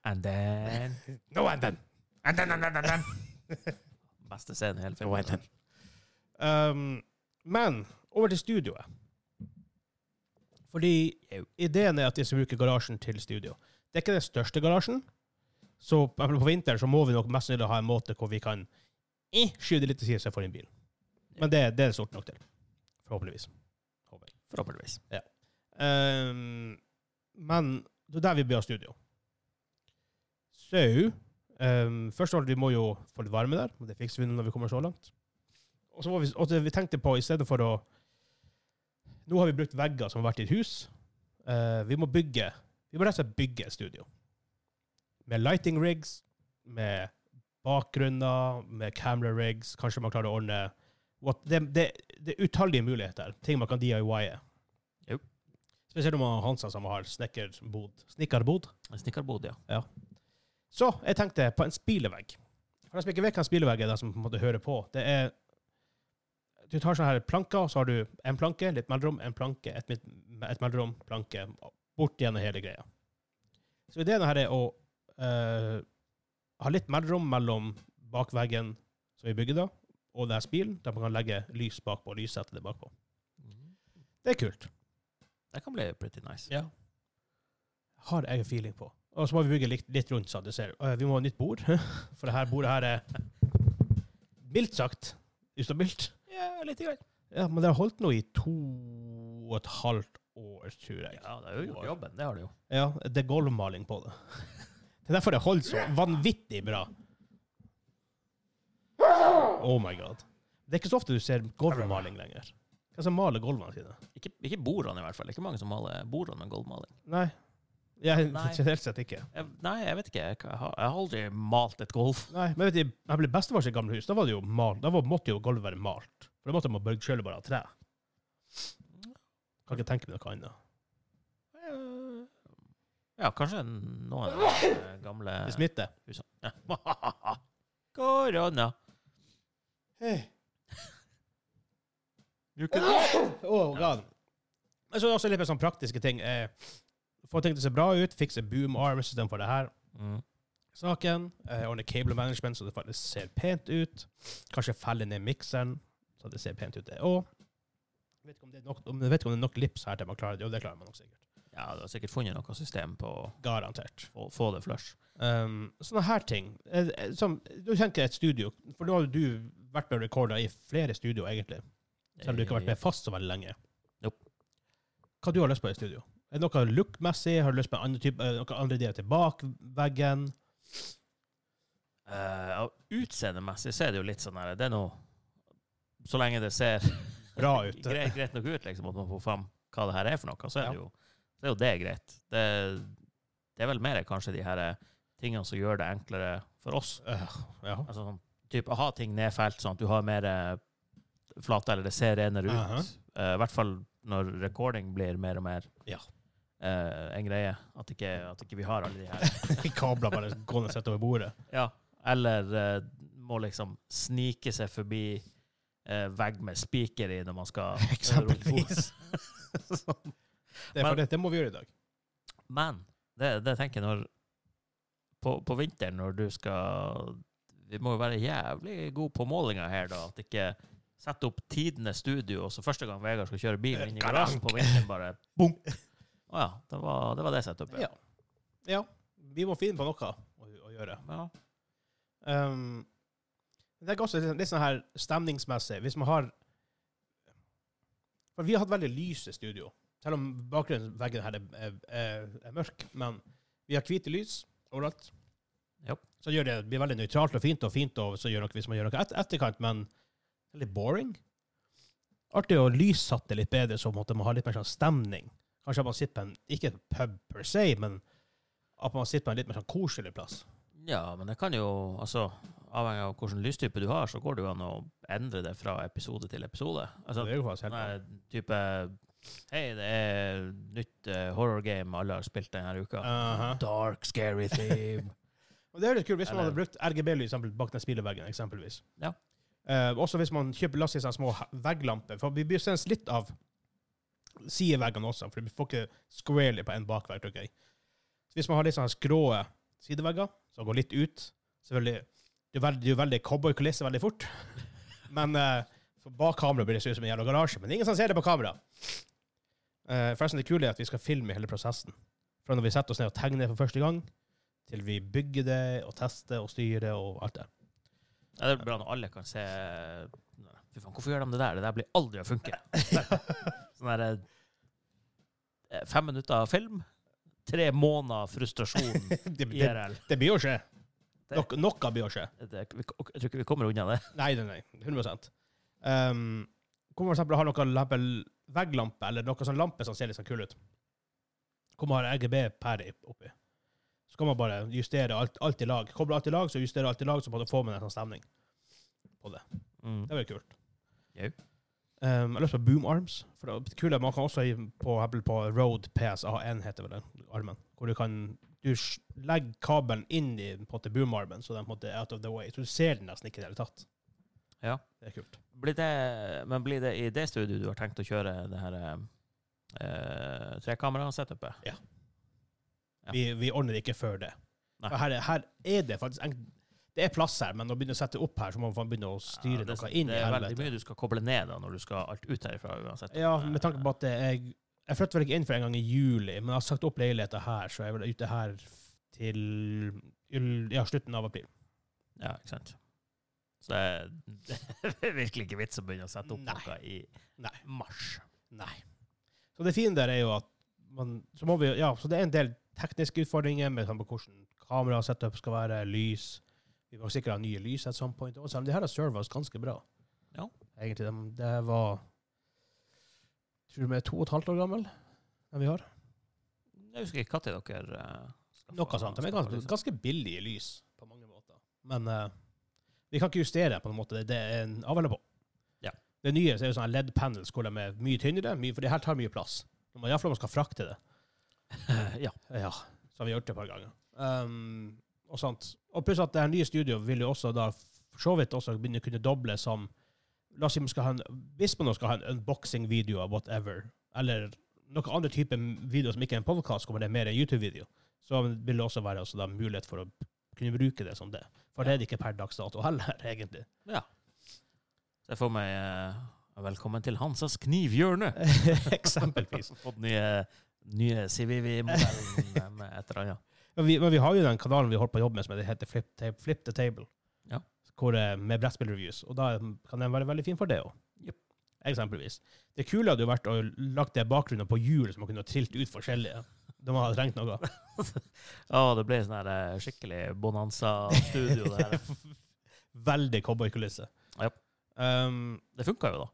And then No and then! And then, and then, and then. Beste scenen i hele No and filmen. then. Um, men over til studioet. Fordi eh, ideen er at de skal bruke garasjen til studio. Det er ikke den største garasjen, så på på vinteren så må vi nok mest sannsynlig ha en måte hvor vi kan eh, skyve det litt til side så jeg får en bil. Men det, det er det stort nok til. Forhåpentligvis. Håper jeg. Forhåpentligvis. Ehm, men det er der vi blir av studio. Så ehm, Først og fremst, vi må jo få litt varme der. og Det fikser vi når vi kommer så langt. Og så var vi, og det vi tenkte på, i stedet for å Nå har vi brukt vegger som har vært i et hus. Eh, vi må bygge Vi må rett og slett bygge et studio. Med lighting rigs, med bakgrunner, med camera rigs. Kanskje man klarer å ordne what, det, det, det er utallige muligheter. Ting man kan DIY-e. Spesielt om han Hansa som har snekkerbod. Snikkerbod. En Snekkerbod, ja. Så jeg tenkte på en spilevegg. For de som ikke vet hva en spilevegg er, de som på en måte hører på, det er Du tar sånne her planker, og så har du en planke, litt mellomrom, en planke, et, midt, et mellomrom, planke, bort gjennom hele greia. Så ideen her er å eh, ha litt mellomrom mellom bakveggen som vi bygger da, og det her spilen, der man kan legge lys bakpå, lyssette det bakpå. Det er kult. Mm. Det kan bli pretty nice. Ja. Har jeg en feeling på. Og så må vi bygge litt, litt rundt, så du ser. Øh, Vi må ha nytt bord, for det her bordet her er mildt sagt ustabilt. Ja, litt greit. Ja, men det har holdt nå i to og et halvt år, tror jeg. Ja, det er jo gjort jobben. Det har det jo. Ja, det er gulvmaling på det. Det er derfor det holder så vanvittig bra. Oh my god. Det er ikke så ofte du ser gulvmaling lenger. Hvem som maler gulvene sine? Ikke, ikke bordene, i hvert fall. Ikke mange som maler bordene med gulvmaling. Nei. Jeg, Nei. generelt sett ikke. Jeg, nei, jeg vet ikke. Jeg, har, jeg har aldri malt et golf. Nei, men vet du, jeg ble bestefar sitt gamle hus. Da, var det jo mal, da var, måtte jo gulvet være malt. For det måtte man bygge selv bare av tre. Kan ikke tenke meg noe annet. Eh, Ja, kanskje noen av de eh, gamle Det smitter. husene. Ja. Korona. Oh, God. Men så er det også litt mer sånn praktiske ting. Eh, få ting til å se bra ut. Fikse boom arms istedenfor det her. Mm. Saken. Eh, ordne cable management så det faktisk ser pent ut. Kanskje felle ned mikseren så det ser pent ut, det òg. Vet ikke om det er nok, om, vet ikke om det er nok lips her til man klarer det. Jo, det klarer man nok sikkert. Ja, du har sikkert funnet noe system på å Garantert. få, få det flush. Um, sånne her ting. Eh, eh, Som, du tenker et studio, for nå har jo du vært med og recorda i flere studio, egentlig. Selv om du ikke har vært med fast så veldig lenge. Nope. Hva du har lyst på i studio? Er det noe look-messig? Har du lyst på en annen type, eh, noen andre ideer til bakveggen? Eh, og utseendemessig så er det jo litt sånn her Det er noe Så lenge det ser Bra ut. greit, greit nok ut, liksom, at man får fram hva det her er for noe, så er, Ja. det, jo, så er jo det greit. Det, det er vel mer kanskje de her eh, tingene som gjør det enklere for oss. Øh, ja. Altså sånn typ, Ha ting nedfelt, sånn at du har mer eh, flate, eller det ser renere ut. Aha. Eh, I hvert fall når recording blir mer og mer Ja. eh, en greie. At ikke, at ikke vi har alle de her. Kabler bare gående sett over bordet. ja. Eller eh, må liksom snike seg forbi eh, vegg med spiker i når man skal Eksempelvis. sånn. Det, er for Men- det, det må vi gjøre i dag. Men det, det tenker jeg når på, på vinteren når du skal Vi må jo være jævlig gode på målinga her, da. At ikke sette opp tidenes studio, og så første gang Vegard skal kjøre bilen inn i garasjen på vinteren, bare bong! Å ja. Det var det, var det setupet. Ja. ja. Vi må finne på noe å, å gjøre. Ja. Um, det er også litt, litt sånn her stemningsmessig. Hvis man har For vi har hatt veldig lyse studio. Selv om bakgrunnen veggen her er, er, er, er mørk. Men vi har hvite lys overalt. Japp. Så gjør det, det blir veldig nøytralt og fint, og fint og så gjør noe hvis man gjør noe et, etterkant, men det er litt boring. Artig å lyssatte det litt bedre, så måtte man ha litt mer sånn stemning. Kanskje at man sitter på en, ikke en pub per se, men at man sitter på en litt mer sånn koselig plass. Ja, men det kan jo altså, Avhengig av hvilken lystype du har, så går det jo an å endre det fra episode til episode. Altså, det er jo faktisk helt sånn type Hei, det er nytt eh, horror game alle har spilt denne uka. Aha. Dark, scary theme. Og det er litt kult hvis man Eller- hadde brukt RGB-lyd eksempel- bak den spilleveggen, eksempelvis. Ja. Eh, også hvis man kjøper la oss si sånne små he- vegglamper. For vi blir sendt litt av sideveggene også, for vi får ikke squarely på en bakvegg. tror jeg. Så hvis man har litt sånne skrå sidevegger som går litt ut Selvfølgelig, det er veldig, det er jo veldig cowboykulisse veldig fort. Men eh, for bak kamera blir det så ut som en jævla garasje. Men det er ingen som ser det på kamera. Eh, forresten, det kule er at vi skal filme hele prosessen. Fra når vi setter oss ned og tegner for første gang, til vi bygger det og tester og styrer og alt det. Ja, det er bra når alle kan se Fy faen, hvorfor gjør de det der? Det der blir aldri å funke. Sånn der eh, Fem minutter film, tre måneder frustrasjon Det, det, IRL. det blir jo skje. Det- Nok, noe blir å skje. Det, vi, jeg tror ikke vi kommer unna det. Nei, nei, nei. 100 um, Hvor man for eksempel har noen lampe, vegglampe eller noen sånn lampe som ser litt sånn kul ut. Hvor man har RGB-pære i- oppi. Så kan man bare justere alt, alt i lag. Koble alt i lag, så justere alt i lag, så på en måte får man en sånn stemning. Mm. Det blir kult. Jau. Um, jeg har lyst på boom arms. For det er kult at man kan også gi- på, eksempel på Road PSA1 heter vel den armen. Hvor du kan du s- legger kabelen inn i på en måte, boomarmen, så den på en måte er out of the way. Så du ser den nesten ikke i det hele tatt. Ja. Det er kult. Blir det, men blir det i det studioet du har tenkt å kjøre det her eh, trekamera-setupet? Ja. Vi, vi ordner det ikke før det. Nei. For Her, er- her er det faktisk en, Det er plass her, men å begynne å sette opp her, så må man begynne å styre Ja, det- noe inn Det i er veldig helvete. mye du skal koble ned da, når du skal alt ut herifra uansett. Ja, med tanke på at det er Jeg flytter vel ikke inn for en gang i juli, men jeg har sagt opp leiligheten her, så jeg er vel ute her til ja, slutten av april. Ja, ikke sant. Så det er, det er virkelig ikke vits å begynne å sette opp Nei. noe i Nei. mars. Nei. Så det fine der er jo at man, så må vi, ja, så det er en del tekniske utfordringer med sånn på hvordan kamerasetup skal være, lys. Vi må sikkert ha nye lys at some point. Også, men de her har serva oss ganske bra. Ja. Egentlig, de, det her var Tror du vi er to og et halvt år gammel? Den vi har. Jeg husker ikke når dere eh, skal Noe få- sånt. De er skal få liksom ganske, lyset. ganske billige lys på mange måter. Men eh, vi kan ikke justere på en måte. Det er en avhelle på. Ja. Det nye så er jo sånne LED panels hvor de er mye tynnere, mye, for de her tar mye plass. Iallfall om man skal frakte det. ja. Ja, så har vi gjort det et par ganger. Um, og sånt. Og pluss at det her nye studioet vil jo også da for så vidt også begynne å kunne doble som La oss si man skal ha en, hvis man nå skal ha en unboxing-video av whatever, eller noen andre type video som ikke er en podkast, kommer det mer en YouTube-video, så vil det også være altså da mulighet for å kunne bruke det som det. For det er det ikke per dags dato heller, egentlig. Så jeg får meg eh, velkommen til Hansas knivhjørne. Eksempelvis. Fått nye, nye CVV-modellen med et eller annet. Men vi, men vi har jo den kanalen vi holder på å jobbe med, som heter Flip, Tape, Flip the Table. Ja. Hvor, eh, med brettspillreviews. Og da kan den være veldig fin for det òg. Jep. Eksempelvis. Det kule hadde jo vært å lagt det bakgrunnen på hjul, så man kunne ha trilt ut forskjellige. Da man hadde trengt noe. Ja, det ble sånn her eh, skikkelig bonanza-studio. Det her. Veldig cowboykulisse. Ja. Um, Det funka jo, da.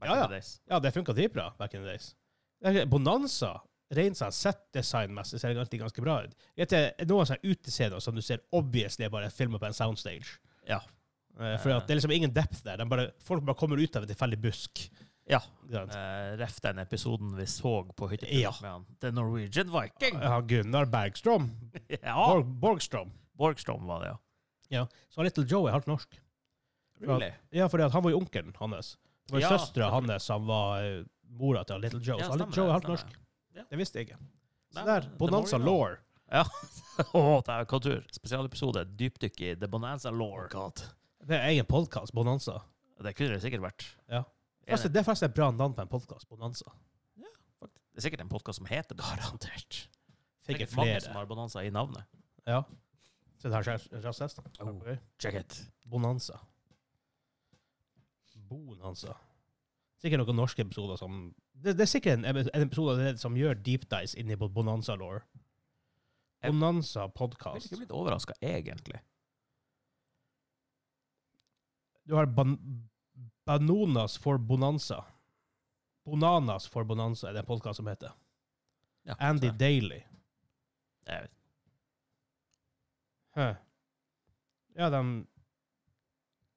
Ja, ja. in the days. ja, det funka dritbra back in the days. Det er- Bonanza rent sånn set-design-messig ser alltid ganske bra ut. Det er noen sånne utescener som du ser obviously er bare filma på en soundstage. Ja. Eh, For at det er liksom ingen depth der. De bare, folk bare kommer ut av en tilfeldig busk. Ja. Ikke sant? Eh, ref den episoden vi så på hyttetur Ja. med han. The Norwegian Viking. Ja, Gunnar Bergstrom. Ja. Borg, Borgstrom. Borgstrom var det, ja. Så Little Joe er halvt norsk. Really? Ja, fordi at han var jo onkelen hans. Det var Ja, ja, søstera hans som var eh, mora til Little Joe. Ja, så stemmer Little Joe er det, halvt stemmer norsk. Ja. Det visste jeg ikke. Nei, Så der, det må Bonanza vi da. Law. Å, det er kultur. Spesialepisode. Dypdykk i The Bonanza Law. Det er egen podkast, Bonanza. Det kunne det sikkert vært. Ja. Er Forresten, det, det er faktisk et bra navn på en podkast, Bonanza. det er sikkert en podkast som heter Garantert. Fikk jeg Sikkert mange som flere. har bonanza i navnet. Ja. Så det her er rasist. Oh. Okay. Check it. Bonanza. Bonanza. Sikkert noen norske episoder som Det, det er sikkert en, en episode av det som gjør deep dives inni på Bonanza Law. Jeg- Bonanza Jeg ville podcast. ikke blitt overraska, egentlig. Du har ban Bananas for Bonanza. Bananas for Bonanza er det en podkast som heter. Ja, Andy så- Daly. Jeg vet. Hæ. Ja, de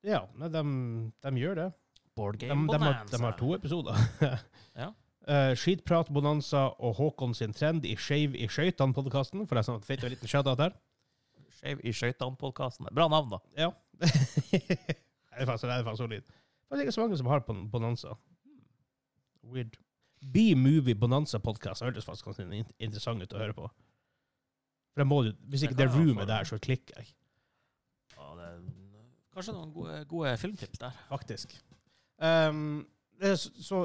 Ja, nei, de, de gjør det. Board Game De, de, har, Bonanza. de har to episoder. Ja. Eh, Skitprat, sånn Bonanza og Håkon sin trend i Skeiv i skøytene-podkasten. For jeg fikk en liten shout-out her. Skeiv i skøytene-podkasten. Bra navn, da. Ja. det er faktisk, det er faktisk solid. Det er ikke så mange som har bon- Bonanza. Weird. B-Movie Bonanza Podcast hørtes faktisk ganske in- interessant ut å høre på. For jeg må, jo- Hvis Det ikke det kan jeg roomet anbefale. der, så klikker jeg. Ja, det er, kanskje noen gode, gode filmtips der. Faktisk. Ehm, det er så, så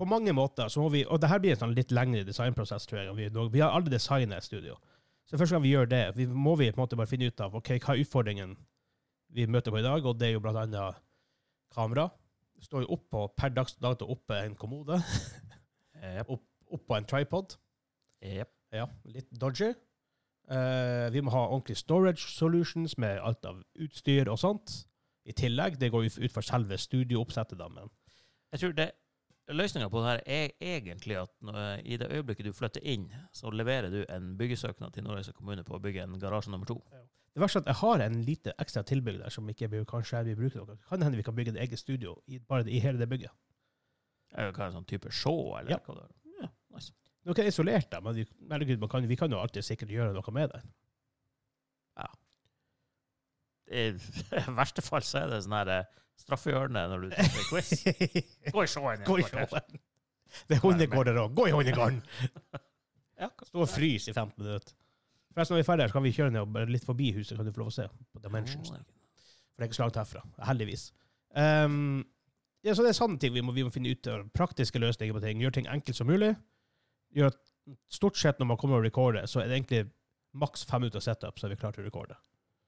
på mange måter så har vi Og det her blir en sånn litt lengre designprosess, tror jeg. enn Vi, nå- vi har aldri designet et studio. Så første gang vi gjør det, vi, må vi på en måte bare finne ut av ok, hva er utfordringen vi møter på i dag, og det er jo blant annet kamera. Det står jo oppå per dags dato oppe en kommode, Jepp. oppå en tripod. Jepp. Ja, litt dodgy. Eh, vi må ha ordentlig storage solutions med alt av utstyr og sånt. I tillegg, det går jo ut fra selve studiooppsettet, da, men Jeg tror det Løsninga på det her er egentlig at når, i det øyeblikket du flytter inn, så leverer du en byggesøknad til Nordreisa kommune på å bygge en garasje nummer to. Det verste er at jeg har en lite ekstra tilbygg der som ikke blir, kanskje jeg vil bruke noe. Kan hende vi kan bygge et eget studio i, bare i hele det bygget. Eller hva er det, sånn type show, eller Ja. hva det er. Ja, nice. Nå er jeg isolert der, men vi, herregud, man kan, vi kan jo alltid sikkert gjøre noe med det. I verste fall så er det sånn her eh, straffehjørne når du tar quiz. Gå i showen. Gå i showen. Det er hundegårder òg. Gå i hundegården! Ja, Stå og frys i 15 minutter. Forresten, når vi er ferdige, her, så kan vi kjøre ned og bare litt forbi huset, kan du få lov å se på Dimensions. For det er ikke så langt herfra. Heldigvis. Ehm, ja, så det er sånne ting vi må, vi må finne ut av. Praktiske løsninger på ting. Gjøre ting enkelt som mulig. Gjør at stort sett når man kommer og recorder, så er det egentlig maks fem minutter setup, så er vi klare til å recorde.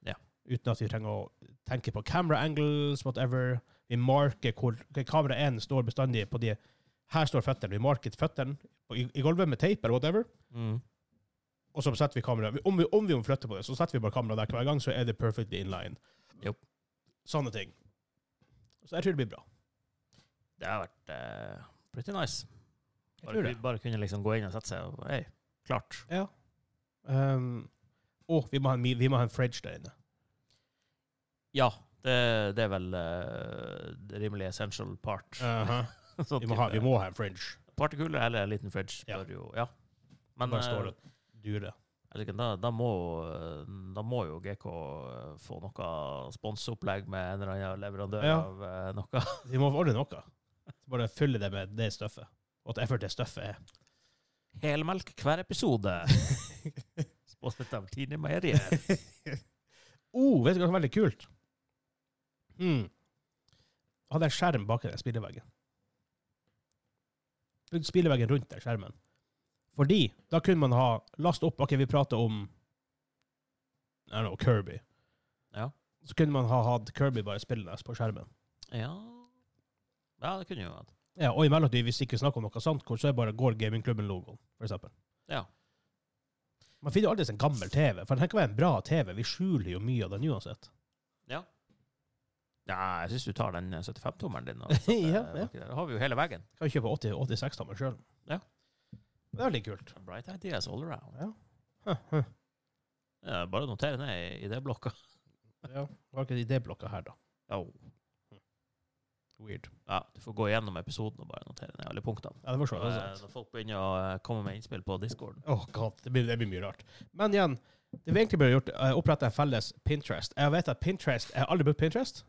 Ja. Uten at vi trenger å tenke på camera angles, whatever. Vi marker hvor ok, kamera 1 står bestandig på de Her står føttene. Vi marker føttene på- i, i gulvet med teip eller whatever. Mm. Og så setter vi kameraet. Om vi, om vi må flytte på det, så setter vi bare kameraet der hver gang, så er det perfectly in line. Jopp. Sånne ting. Så jeg tror det blir bra. Det har vært eh, pretty nice. Jeg Bare, tror det. kun- bare kunne liksom gå inn og sette seg og Hei, klart. Ja. Um, og vi må, ha en, mi- vi må ha en fridge der inne. Ja, det, det er vel eh, det rimelig essential part. Sånn vi, må ha, type vi må ha en fridge. Partykule eller en liten fridge Ja. bør jo Ja. Men Bare eh, står og durer. jeg liker- da, da, må, eh, da må jo GK eh, få noe sponseopplegg med en eller annen leverandør Ja. av eh, noe. Vi må ordne noe. Bare fylle det med det støffet. Og at effort det støffet er. Helmelk hver episode. Sponset av Tine Meieriet. oh, vet du hva som er veldig kult? Mm. Hadde en skjerm bak den spilleveggen. Bygd Spilleveggen rundt den skjermen. Fordi da kunne man ha last opp Ok, vi prater om I don't know, Kirby. Ja. Så kunne man ha hatt Kirby bare spillende på skjermen. Ja. ja, det kunne jo vært. Ja, Og i mellomtiden, hvis ikke vi snakker om noe sant, hvor så er bare går gamingklubben-logoen, for eksempel. Ja. Man finner jo alltid en gammel TV, for den kan være en bra TV. Vi skjuler jo mye av den uansett. ja jeg syns du tar den eh, 75-tommeren din. Og Ja, setter, ja. baki eh, der. Da har vi jo hele veggen. Kan jo kjøpe 80 86-tommer sjøl. Ja. Det er litt kult. Bright ideas all around. Ja. Huh, huh. Ja, bare noter ned i, i det blokka. ja. Var ikke idéblokka her, da. Oh. Weird. Ja, du får gå gjennom episoden og bare notere ned alle punktene. Ja, det var så. Og, eh, Når folk begynner å eh, komme med innspill på discorden. Åh, god. Det blir, det blir mye rart. Men igjen, det vi egentlig burde gjort, er å opprette en felles Pinterest. Jeg vet at Pinterest Jeg har aldri brukt Pinterest.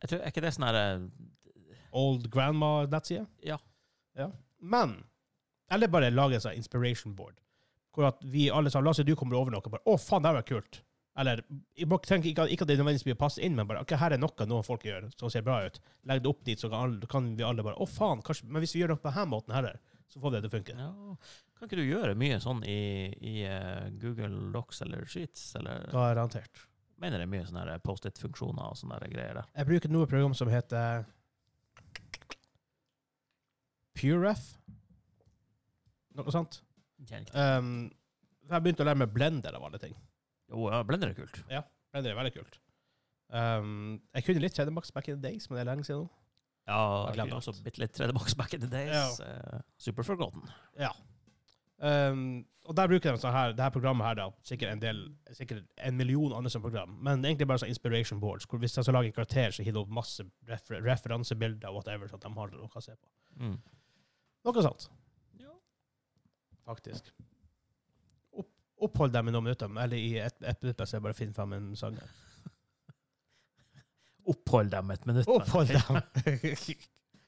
Jeg tror, er ikke det sånn her eh, Old grandma-nettside. Ja. Men Eller bare lage en sånn inspiration board. Hvor at vi alle sammen La oss si du kommer over noe. bare, Å, faen, det her var kult. Eller jeg bare tenker ikke, at- ikke at det nødvendigvis blir passe inn, men bare ok, her er noe noen folk gjør som ser bra ut. Legg det opp dit, så kan, alle, kan vi alle bare Å, faen, kanskje Men hvis vi gjør noe på denne måten her, så får vi det til å funke. ja. Kan ikke du gjøre mye sånn i, i eh, Google Docs eller Sheets? Eller Garantert. mener det er mye sånne her Post-it-funksjoner og sånne her greier der? Jeg bruker noe program som heter Puref. Noe sånt. Kjenner ikke. Um, jeg begynte å lære meg blender av alle ting. Eh, Jo, ja, Blender er kult. Blender er veldig kult. Um, jeg kunne litt 3D Max back in the days, men det er lenge siden nå. Ja, Jeg glemmer jeg kunne alt. også bitte litt 3D Box back in the days. eh, Super Forgotten. Um, og der bruker de sånn her, det her programmet her, da, sikkert en del, sikkert en million andre som program, men egentlig bare sånn inspiration boards, hvor hvis jeg skal lage en karakter, så hiver de opp masse refer referansebilder og whatever, sånn at de har noe å se på. Mm. Noe sånt, Ja. faktisk. Opp, Opphold deg med noen minutter, eller i et, et minutt, så jeg bare finner frem en sang. her. Opphold dem et minutt. men. Opphold deg!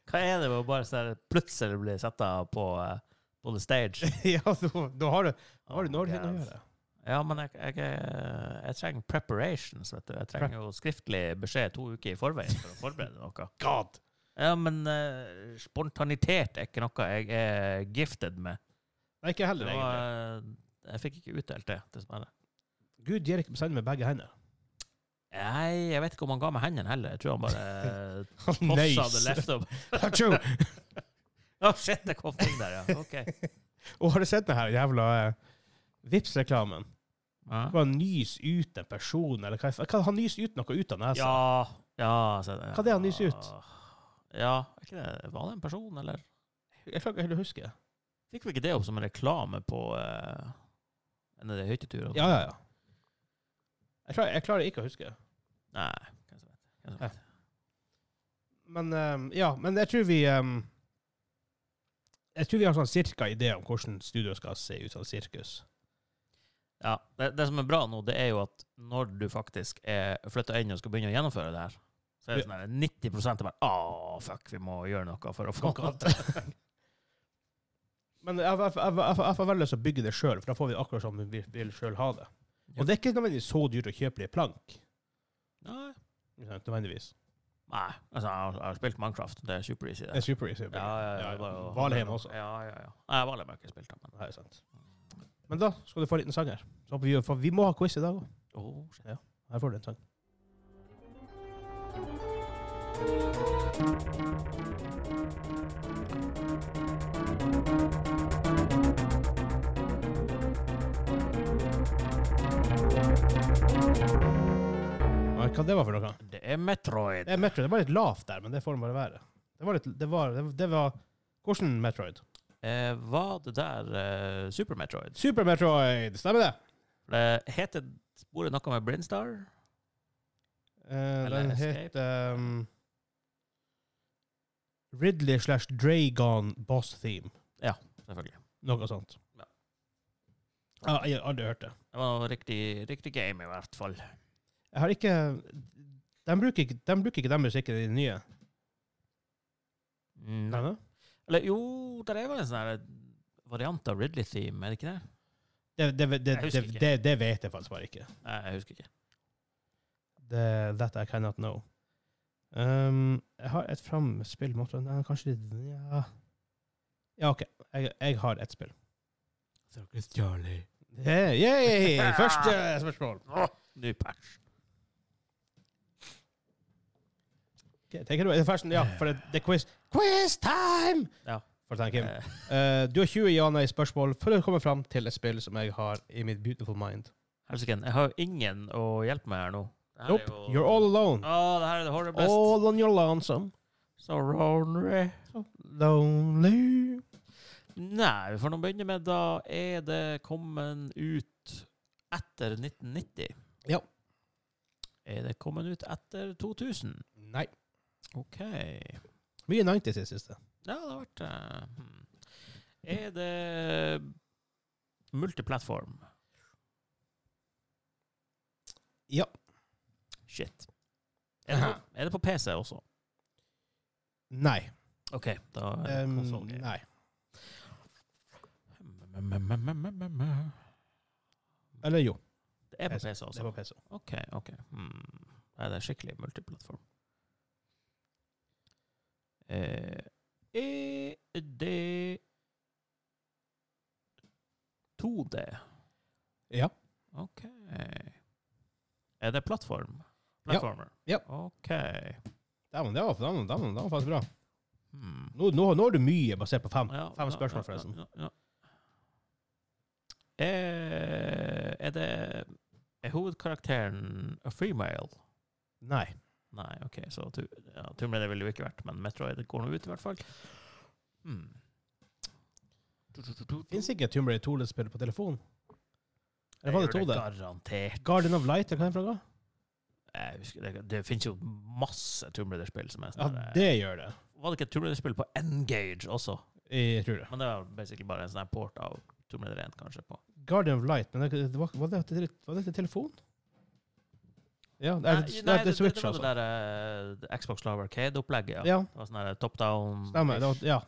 Hva er det med å bare sånn her plutselig bli satt av på, eh, på the stage? ja, nå, nå har du nå har du Oh noe my å God. gjøre. Ja, men jeg, jeg, eh, jeg trenger preparations, vet du. Jeg trenger jo skriftlig beskjed to uker i forveien for å forberede noe. God! Ja, men eh, spontanitet er ikke noe jeg er gifted med. Nei, ikke Og, heller, egentlig. eh, jeg fikk ikke utdelt det, dessverre. Gud gir ikke send med begge hender. Nei, jeg vet ikke om han ga meg hendene heller. Jeg tror han bare eh, tossa det Nice! left up. Achoo! Å, shit, det kom ting der, ja. OK. Og har du sett den her jævla eh, Vipps-reklamen? Ja. Hva nys ut en person, eller hva? f- hva han nys ut noe ut av nesa? Ja, ja så, Hva er det han nyser ut? Ja, er ikke det, var det en person, eller? Jeg klarer ikke helt å huske. Fikk vi ikke det opp som en reklame på eh, en av de hytteturene? Ja, ja, ja. Jeg klarer, jeg klarer ikke å huske. Nei, hvem som vet. Hvem som vet. Men eh, ja, men jeg tror vi eh, Jeg tror vi har sånn cirka idé om hvordan studio skal se ut sånn sirkus. Ja, det, det som er bra nå, det er jo at når du faktisk er flytta inn og skal begynne å gjennomføre det her, så er det sånn her 90 er bare Å, fuck, vi må gjøre noe for å få Noe noe til. Men jeg, jeg, jeg, jeg, jeg får veldig lyst til å bygge det sjøl, for da får vi akkurat som vi vil- vil sjøl ha det. Og det er ikke nødvendigvis så dyrt å kjøpe det i plank. Nei. ikke sant, Nødvendigvis. Nei, altså, jeg har, jeg har spilt Minecraft. Det er super easy, Det det. er super easy. å bygge. Ja, ja, ja, det var jo- Valheim også. Ja, ja, ja. Nei, Valheim har jeg ikke spilt, da, men Det er sant. Men da skal du få en liten sang her. Så håper vi, for vi må ha quiz i dag òg. Åh, shit. Her får du en sang. Nei, Hva det var for noe? Det er Metroid. Det er Metroid. Det var litt lavt der, men det får det bare være. Det var litt, det var, det, det var Hvordan Metroid? Eh, var det der eh, Super Metroid? Super Metroid! Stemmer det? Det heter sporet noe med Brinstar? Eh, Eller den Escape. heter um, Ridley slash Dragon Boss Theme. Selvfølgelig. Noe sånt. Ja. Ja, jeg har aldri hørt det. Det var noe riktig, riktig game, i hvert fall. Jeg har ikke De bruker ikke, de bruker ikke den musikken i den nye. Mm, Nei. Eller jo, der er vel en sånn her variant av Ridley-theme, er det ikke det? Det, det, det, det, Jeg husker det, ikke. det, det vet jeg faktisk bare ikke. Nei, jeg husker ikke. Det, that I cannot know. Um, jeg har et framspill mot Nei, Kanskje litt Ja, ja OK. Jeg, jeg har ett spill. Hey, yay! Første spørsmål. Åh, ny patch. Ok, tenker du, forresten, ja, for det, det er quiz. Quiz time! Ja. For å tenke. Eh, Eh, du har 20 ja-nei-spørsmål før du kommer fram til et spill som jeg har i mitt beautiful mind. Helsiken, jeg har jo ingen å hjelpe meg her nå. Det her er Nope, jo- you're all alone. Å, det her er det horriblest. All on your lonesome. Så lonely. Lonely. Nei, vi får nå begynne med da er det kommet ut etter 1990. Ja. Er det kommet ut etter 2000? Nei. OK. Ja, Mye 90s i det siste. det har vært eh, hmm. Er det multiplattform? Ja. Shit. Er det, på, er det på PC også? Nei. OK, da er det Um, konsoll. nei. Det Eller jo. er på PC, Det PC er også? på PC. OK, OK. Hmm. Nei, det er skikkelig multiplattform. Eh, er det 2D? Ja. OK. Er det plattform? Ja. Plattformer? Ja. OK. Dæven, det var, det, var, det, var, det var faktisk bra. Hmm. Nå, nå, nå er du mye basert på fem. Ja, Fem ja, spørsmål, ja, forresten. ja, ja. Eh, Er, er det Er hovedkarakteren a female? Nei. Nei, OK, så tu, ja, Tomb Raider ville det jo ikke vært, men Metroid går nå ut, i hvert fall. Hmm. Fins ikke Tomb Raider 2-spill på telefon? Eller var det 2D? Garantert. Garden of Light, er hva er det for noe? Jeg husker, det det finnes jo masse Tomb Raider-spill som er Ja, sånn der- det gjør det. Var det ikke et Tomb Raider-spill på Engage også? Jeg tror det. Men det var basically bare en sånn her port av Tomb Raider 1, kanskje. på. Guardian of Light, men det, det var, var, det, til- var det til telefon? Ja, nei, nei, det, er Switch, det, altså. var det der eh, Xbox Live Arcade-opplegget. Ja, Ja. Det var sånn der top down stemmer. Det var, ja.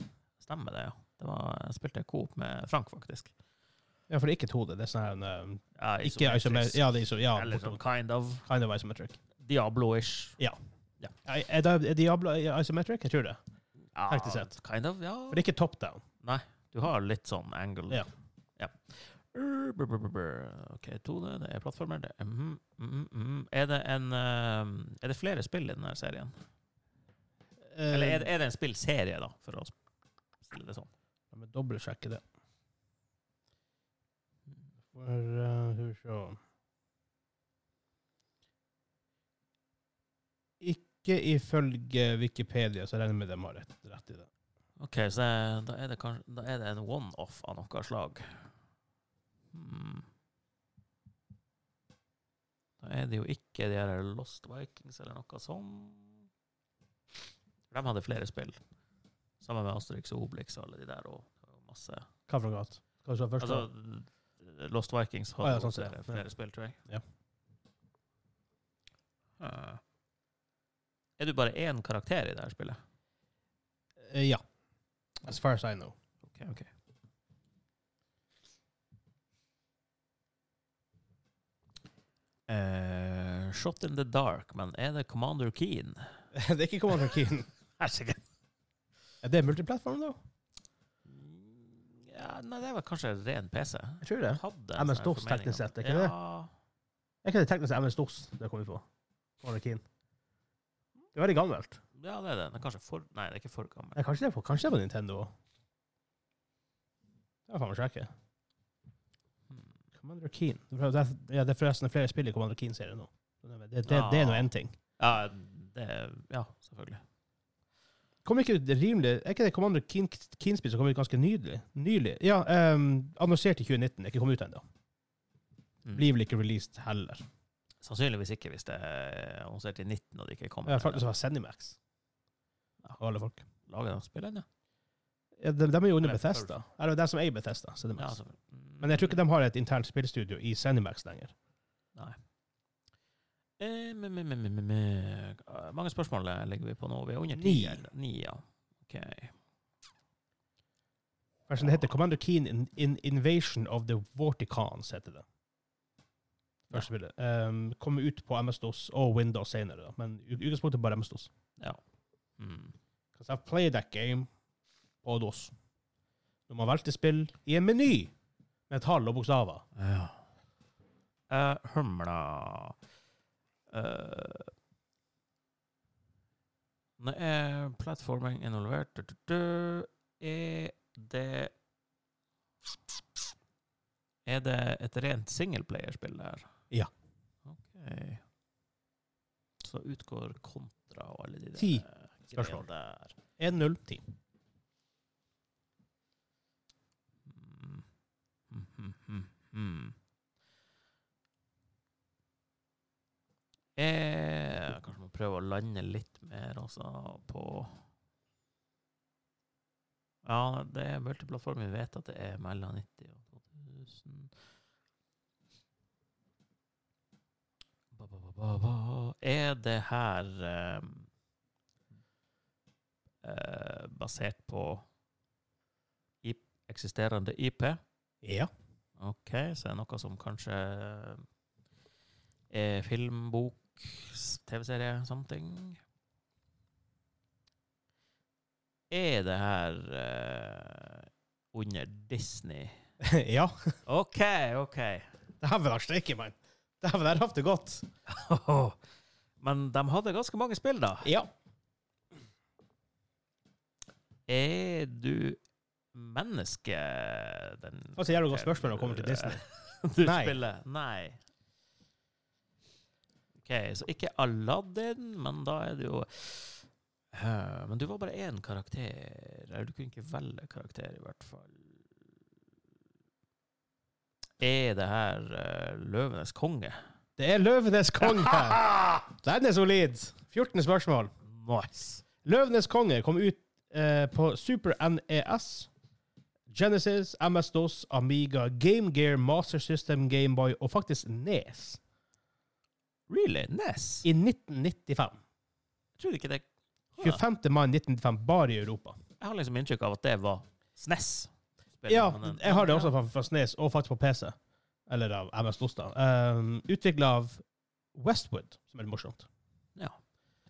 Stemmer det, ja. Det var, jeg spilte Coop med Frank, faktisk. ja, for det er ikke et hode. Det er sånn her en, Ja, eh, Ikke isometrisk. Ja, det er iso, ja, Eller sånn bortom- kind of kind of isometric. Diablo-ish. Er, er det- er Diablo isometric? Jeg tror det. Ja, Taktisk sett. Kind of, ja. For det er ikke top down. Du har litt sånn angle. Ja. Ja. Brr, brr, brr, brr, brr. OK, 2D, det er plattformer. Det er, mhm, mhm, mhm. er det en eh, Er det flere spill i denne serien? Eller er det, er det en spillserie, da, for å stille det sånn? La meg dobbeltsjekke det. For, eh, skal vi se. Ikke ifølge Wikipedia, så jeg regner med de har rett, rett i det. OK, så det- da er det kanskje Da er det en one-off av noe slag. Hmm. Da er det jo ikke de her Lost Vikings eller noe sånn. De hadde flere spill. Sammen med Asterix og Obelix og alle de der. Og, og masse Hva for noe annet? Hva som var først? Altså, Lost Vikings Ah, hadde ja, jo sånn, flere, ja. flere spill, tror jeg. Ja. Eh, Er du bare én karakter i det her spillet? Eh, ja. As far as I know. Ok, ok. Eh, Shot in the Dark, men er det Commander Keen? det er ikke Commander Keen. Herregud. Er det multiplattform, da? Ja, nei, det var kanskje ren PC. Jeg tror det. Hadde sånn MS DOS teknisk sett, er ikke det? Er ikke det teknisk MS DOS det kom vi på? Commander Keen. Det er veldig gammelt. det? Ja, det er det. Den er kanskje for, nei, det er ikke for gammel. Ja, kanskje, det er på, kanskje det er på Nintendo òg. Det må faen meg sjekke. Hmm. Commander Keen. Det er- det er- Ja, det er forresten flere spill i Commander Keen-serien nå. Det, det, det, det er nå Ah. én ting. Ja, det, ja selvfølgelig. Kom ikke ut rimelig Er ikke det Commander Keen- Keen-spill som kom ut ganske nydelig? Nylig? Ja, ehm, annonsert i 2019. Ikke kommet ut ennå. Mm. Blir vel ikke released heller. Sannsynligvis ikke hvis det er annonsert i 19 og det ikke kommer. Jeg har faktisk vært Zenimax. Og alle folk. Lager de spillene? Ja, de, de er jo under Eller Bethesda. Eller de som eier Bethesda. Ja, Zenimax. selvfølgelig. Mm. Men jeg tror ikke de har et internt spillstudio i Zenimax lenger. Eh, me, me, me, me, me, me. Eh, Mange spørsmål eh, ligger vi på nå. Vi er under Ni. ti. eller? Ni, ja. Ok. Kanskje det heter Commander Keen in, in Invasion of the Vorticons, heter det. Første spillet. Um, kommer ut på MS-DOS og Windows senere, da. men i utgangspunktet bare MS-DOS. Mm. Because I've played that game på DOS. Når man valgte spill i en meny med tall og bokstaver. Ja. Eh, humla eh, Når er plattforming involvert? Du, du, du, er det Er det et rent singleplayerspill det her? Ja. OK. Så utgår kontra og alle de der Ti greiene spørsmål. Der. 1-0-10. Mm. Mm, mm, mm, mm. Eh, kanskje må prøve å lande litt mer også på Ja, det er multiplattformen. Vi vet at det er mellom 90 og 2000. Ba, ba, ba, ba, ba. Er det her eh, eh, basert på IP, eksisterende IP? Ja. Ok, så er det noe som kanskje er film, bok, s- TV-serie, something. Er det her eh, under Disney? ja. OK, OK. Dæven, har streiket, mann. Dæven, der hatt det godt. Men de hadde ganske mange spill, da. Ja. Er du menneske, den Altså, jævlig godt spørsmål når det kommer til Disney. du Nei. spiller? Nei. OK, så ikke Aladdin, men da er det jo Eh, Men du var bare én karakter. Eller du kunne ikke velge karakter, i hvert fall. Er det her eh, Løvenes konge? Det er Løvenes konge. Den er solid. 14 spørsmål. Nice. Løvenes konge kom ut eh, på Super NES, E Genesis, MS-DOS, Amiga, Game Gear, Master System, Gameboy og faktisk Nes Really? Ness? i 1995. Jeg tror ikke det Ja. 25. mai 1995, bare i Europa. Jeg har liksom inntrykk av at det var SNES. -spillet, Ja, men den- jeg har det også fra, fra SNES, og faktisk på PC. Eller av MS-DOS, da. Um, Utvikla av Westwood, som er litt morsomt. Jeg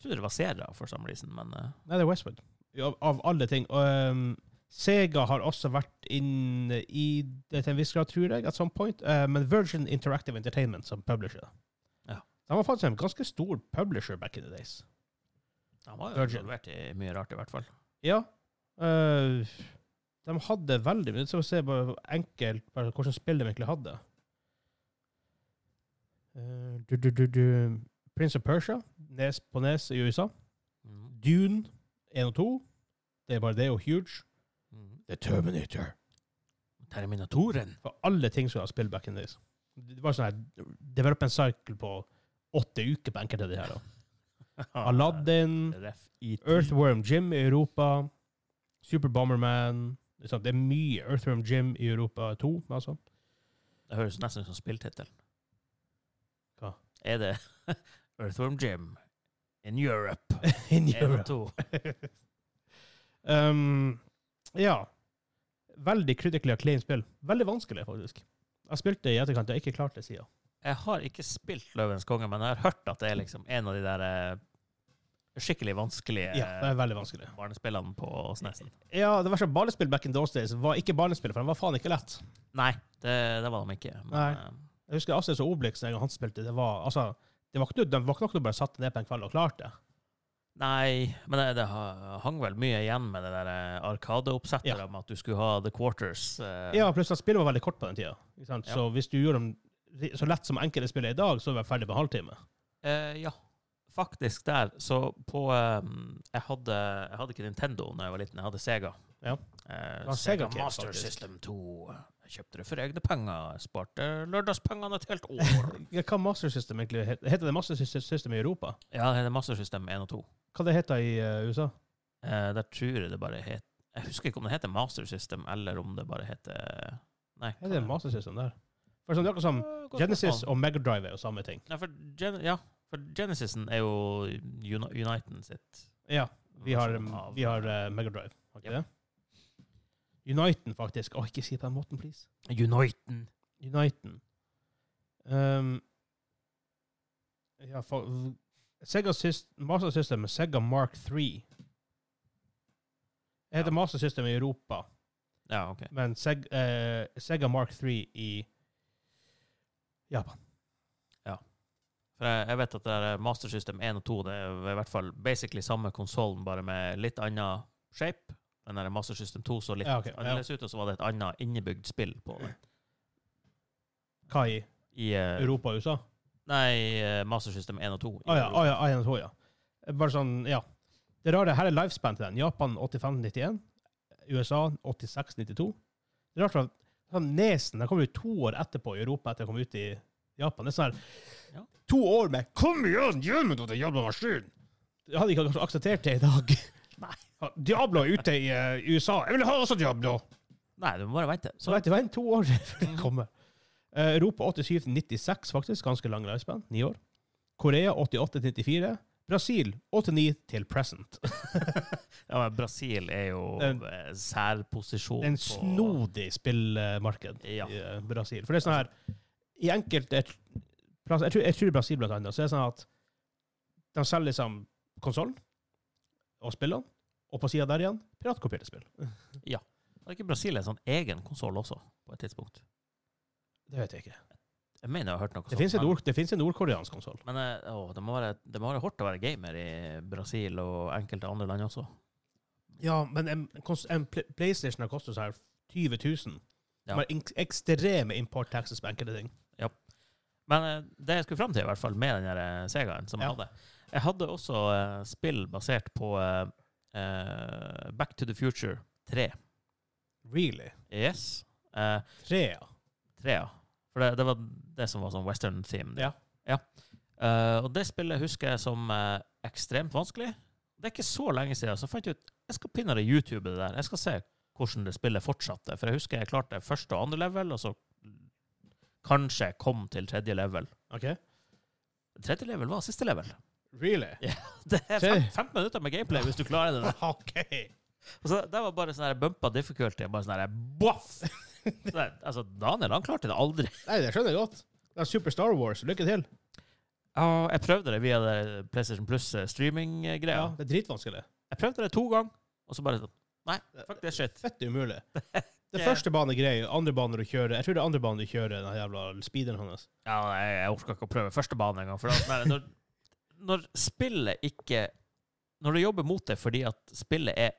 trodde det var Sera for some reason, men eh, Nei, det er Westwood. Ja, Av, av alle ting. Og, ehm, Sega har også vært inne i det til en viss grad, tror jeg, at some point. eh, men Virgin Interactive Entertainment som publisher. da. Ja. De var faktisk en ganske stor publisher back in the days. han var jo Virgin. involvert i mye rart, i hvert fall. Ja. eh, de hadde veldig mye. Så vi ser bare enkelt bare hvordan spill de egentlig hadde. Eh, du, du, du, du. Prince of Persia nes på nes i USA. Mm. Mhm. Dune 1 og 2. Det er bare det, og Huge. Mhm. The Terminator. Terminatoren. For alle ting skulle ha spill back in the days. Det var sånn her Develop en cycle på åtte uker på enkelte av de her. da. Aladdin, Ref E i Earthworm Jim i Europa, Super Bomberman Det er sant, det er mye Earthworm Jim i Europa 2. altså. Det høres nesten ut som spilltittel. Hva? Er det Earthworm Jim in Europe? In En og Europe. to. um, ja. Veldig critically acclaimed spill. Veldig vanskelig, faktisk. Jeg spilte i etterkant, jeg har ikke klart det siden. Jeg har ikke spilt Løvens konge, men jeg har hørt at det er liksom en av de der eh, skikkelig vanskelige Ja, det er veldig vanskelig. eh, barnespillene på SNES-en. Ja, det verste barnespill back in those days var ikke barnespill, for den var faen ikke lett. Nei, det, det var de ikke. Men, Nei. eh, Jeg husker Astrid og Obelix, en gang han spilte, det var altså, det var ikke noe, de var ikke noe du bare satte ned på en kveld og klarte. Nei, men det, det ha- hang vel mye igjen med det der eh, Arkade-oppsettet Ja. om at du skulle ha The Quarters. eh, Ja, plutselig spillet var veldig kort på den tida. Ikke sant? Ja. Så hvis du gjorde dem ri- så lett som enkelte spiller i dag, så var jeg ferdig på en halvtime. Eh, ja, faktisk der. Så på ehm, jeg, hadde, jeg hadde ikke Nintendo da jeg var liten, jeg hadde Sega. Ja. Eh, Du har Sega Sega Kids, Master faktisk. System 2. Jeg kjøpte det for egne penger. Jeg Sparte lørdagspengene et helt år. Ja, Hva Master System egentlig heter? Heter det Master Sys- System i Europa? ja, det heter Master System 1 og 2. Hva det heter i eh, USA? Eh, der tror jeg det bare het Jeg husker ikke om det heter Master System, eller om det bare heter eh, Nei. hva Heter det Master System der? For sånn, det er akkurat som Eh, godt Genesis spørsmål. og Megadrive er jo samme ting. Nei, for, Gen ja, for Genesisen er jo Uni Uniten sitt. Ja, vi har, versjon av- vi har eh, Megadrive. Har ikke Ja. det? Uniten, faktisk. Å, ikke si det på den måten, please. Uniten. Uniten. Ehm, ja, for, Sega Syst- Master System er Sega Mark 3. Det heter Ja. Master System i Europa, Ja, OK. men Seg, eh, Sega Mark 3 i Japan. For jeg, jeg vet at det er Master System 1 og 2 det er i hvert fall basically samme konsollen, bare med litt annen shape. Den der Master System 2 så litt Ja, ok, ja. annerledes ut, og så var det et annet innebygd spill på den. Hva i I, eh, Europa og USA? Nei, eh, Master System 1 og 2. Å i Ah, ja, Europa. å ja, å ja, å ja. Bare sånn, ja. Det rare, her er lifespan til den. Japan 85-91, USA 86-92. Det er rart at sånn Nesen den kom jo to år etterpå i Europa etter å komme ut i Japan. Det er sånn her Ja. To år med 'Kom igjen, gjør meg dette jævla maskin'! Jeg hadde ikke kanskje akseptert det i dag. Nei. Ja, Diablo er ute i eh, USA. Jeg vil ha også Diablo! Nei, du må bare vente. Så Så, vent, vent to år før det kommer. Eh, Europa 87-96, faktisk. Ganske lang lifespan. Ni år. Korea 88-94. Brasil 89 til present. ja, men Brasil er jo Den- eh, særposisjon Det er en på- snodig spillmarked Ja. i eh, Brasil. For det er sånn her I enkelte plasser, jeg tror, jeg tror i Brasil blant annet, så er det sånn at de selger liksom konsollen og spillene, og på sida der igjen piratkopierte spill. Var ikke Brasil en sånn egen konsoll også, på et tidspunkt? Det vet jeg ikke. Jeg mener jeg har hørt noe Det fins en, men- nord, det finnes en nordkoreansk konsoll. Men eh, å, det, må være, det må være hardt å være gamer i Brasil og enkelte andre land også. Ja, men en, kons- en pl PlayStation har kostet sånn her 20 000. Ja. Som har ek- ekstreme import taxes på enkelte ting. Men eh, det jeg skulle fram til, i hvert fall med den der eh, Segaen som Ja. jeg hadde Jeg hadde også eh, spill basert på eh, eh, Back to the Future 3. Really? Yes. Eh, Tre, ja. trea. For det, det var det som var sånn western theme. Ja. Eh, og det spillet husker jeg som eh, ekstremt vanskelig. Det er ikke så lenge siden, så fant jeg ut jeg skal pinne det YouTube det der. Jeg skal se hvordan det spillet fortsatte. For jeg husker jeg klarte første og andre level, og så kanskje kom til tredje level. OK? Tredje level var siste level. Really? Det er Se. fem, 15 minutter med gameplay hvis du klarer det. der. OK! Og så Det var bare sånn her bumpa difficulty. Bare sånn her boff! Så der, altså, Daniel han klarte det aldri. Nei, det skjønner jeg godt. Det er Super Star Wars. Lykke til. Ja, jeg prøvde det via det PlayStation Plus eh, Ja, streaming-greia. Det er dritvanskelig. Jeg prøvde det to ganger, og så bare sånn Nei, fuck det shit. Fett umulig. Det Ja. første bane er grei, andre bane du kjører Jeg tror det er andre bane du kjører, den jævla speederen hans. Ja, jeg, jeg orka ikke å prøve første bane engang. For det var sånn her, når, når spillet ikke Når du jobber mot det fordi at spillet er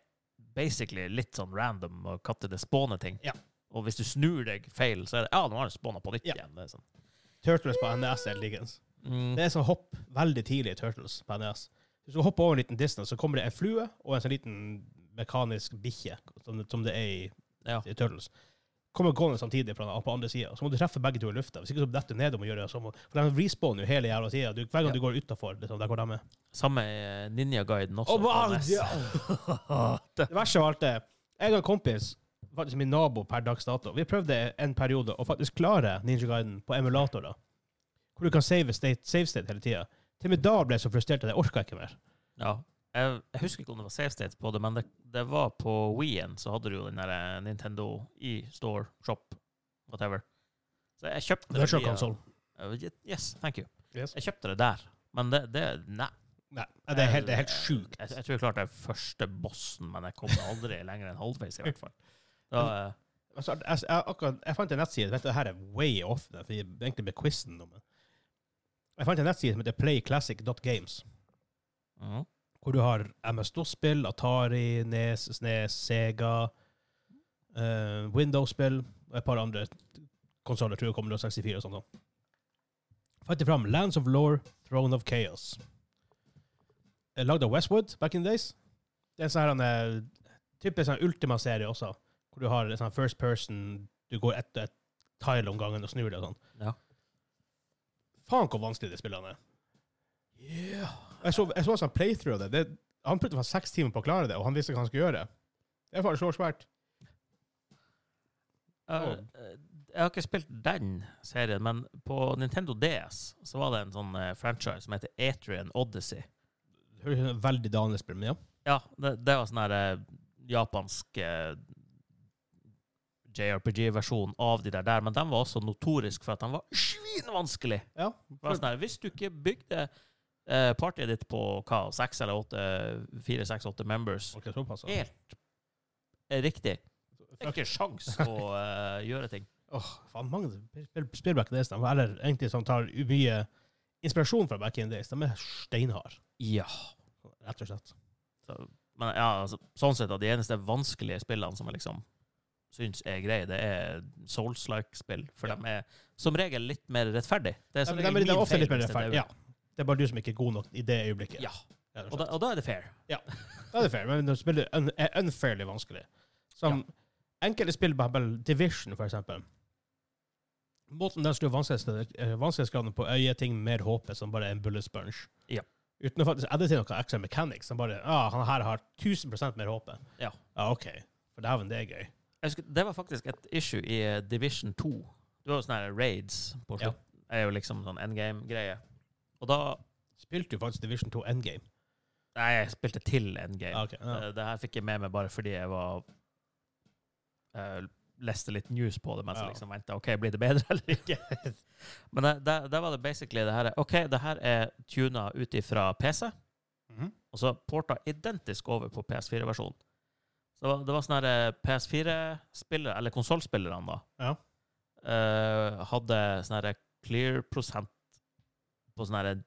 basically litt sånn random og katter det spåner ting Ja. Og hvis du snur deg feil, så er det Ja, nå har det spåna på nytt Ja. igjen. Det er sånn. Turtles på NES er likens. Mm. Det er sånn hopp veldig tidlig i Turtles på NES. Hvis du hopper over en liten distance, så kommer det en flue og en sånn liten mekanisk bikkje, som, som det er i, Ja. i Turtles. Kommer gående samtidig på den- på andre sida. Så må du treffe begge to i lufta. Hvis ikke så detter du ned og må gjøre det samme. For de respawner jo hele jævla tida. Hver gang Ja. du går utafor, liksom, der hvor de er. Samme i Ninja-guiden også. på E NES. Det verste av alt er Jeg og en kompis, faktisk min nabo per dags dato, vi prøvde en periode å faktisk klare Ninja Guiden på emulatorer. Hvor du kan save state, save state hele tida. Til og med da ble jeg så frustrert at jeg orka ikke mer. Ja. Jeg, jeg husker ikke om det var safe state på det, men det, det var på Wien, så hadde du jo den der eh, Nintendo i store, shop, whatever. Så jeg kjøpte Virtual via- console. Uh, Yes, thank you. Yes. Jeg kjøpte det der, men det, det Nei. Nei, det er helt, det er helt sjukt. Jeg, jeg, tror jeg klarte den første bossen, men jeg kom aldri lenger enn halvveis, i hvert fall. Da, eh, Altså, jeg, jeg, akkurat, jeg fant en nettside Vet du, det her er way off, det, for jeg egentlig ble quizen nå, men Jeg fant en nettside som heter playclassic.games, mhm. hvor du har MS-DOS-spill, Atari, Nes, SNES, Sega, eh, Windows-spill og et par andre konsoller, tror jeg kommer til 64 og sånt. da. Fant jeg fram Lands of Lore, Throne of Chaos. Eh, Lagd av Westwood back in the days. Det er en sånn her eh, typisk sånn Ultima-serie også, hvor du har en sånn first person, du går etter et tile om gangen og snur deg og sånn. Ja. Faen hvor vanskelig det spillene er. Jeg så, jeg så en sånn playthrough av det. det han brukte faktisk seks timer på å klare det, og han visste hva han skulle gjøre. Det er faktisk så svært. Eh, Jeg har ikke spilt den serien, men på Nintendo DS så var det en sånn eh, franchise som heter Atrian Odyssey. Det høres ut som et Veldig danisk spill, men ja. Ja, det, det var sånn her eh, japansk eh, JRPG-versjon av de der der, men den var også notorisk for at den var svinvanskelig. ja. Det var sånn her, hvis du ikke bygde eh, partiet ditt på hva, seks eller åtte, fire, seks, åtte members Ok, såpass. ja. helt eh, riktig, det er ikke sjans å eh, gjøre ting. Åh, faen, mange spill, spill back in the days, de var- eller egentlig som tar u- mye inspirasjon fra back in the days, de er steinhard, Ja. rett og slett. Så, men ja, altså, sånn sett at de eneste vanskelige spillene som jeg liksom syns er greie, det er Souls-like-spill. For Ja. de er som regel litt mer rettferdig. Det De, som de, regel de, de min er ofte feil litt mer hvis det er rettferdige. Ja. Det er bare du som ikke er god nok i det øyeblikket. Ja. Rett og slett. Og da, og da er det fair. Ja, det er fair, men når spill er un er unfairly vanskelig. Som enkelte spill, for eksempel Division, for eksempel. Måten den slår vanskelighets- eh, vanskelighetsgraden på, er å gi ting mer håpet som bare en bullet sponge. Ja. Uten å faktisk edde til noe extra mechanics, som bare ah, 'Han her har 1000 mer håpet'. Ja. ja OK. For dæven, det er gøy. Jeg husker, det var faktisk et issue i eh, Division 2. Du har jo sånne her raids på Ja. slutt. Det er jo liksom sånn endgame-greie. Og da Spilte jo faktisk Division 2 Endgame. Nei, jeg spilte til endgame. Ja, ok, ja. Eh, Det her fikk jeg med meg bare fordi jeg var eh, leste litt news på det mens Ja. jeg liksom ventet, OK, blir det bedre eller ikke? Men der, der, der var det basically det her er, OK, det her er tuna ut ifra PC, Mhm. og så porta identisk over på PS4-versjonen. Så det var, det var sånne her, eh, PS4-spillere, eller konsollspillerne, da, Ja. eh, hadde sånn her clear-prosent på sånn her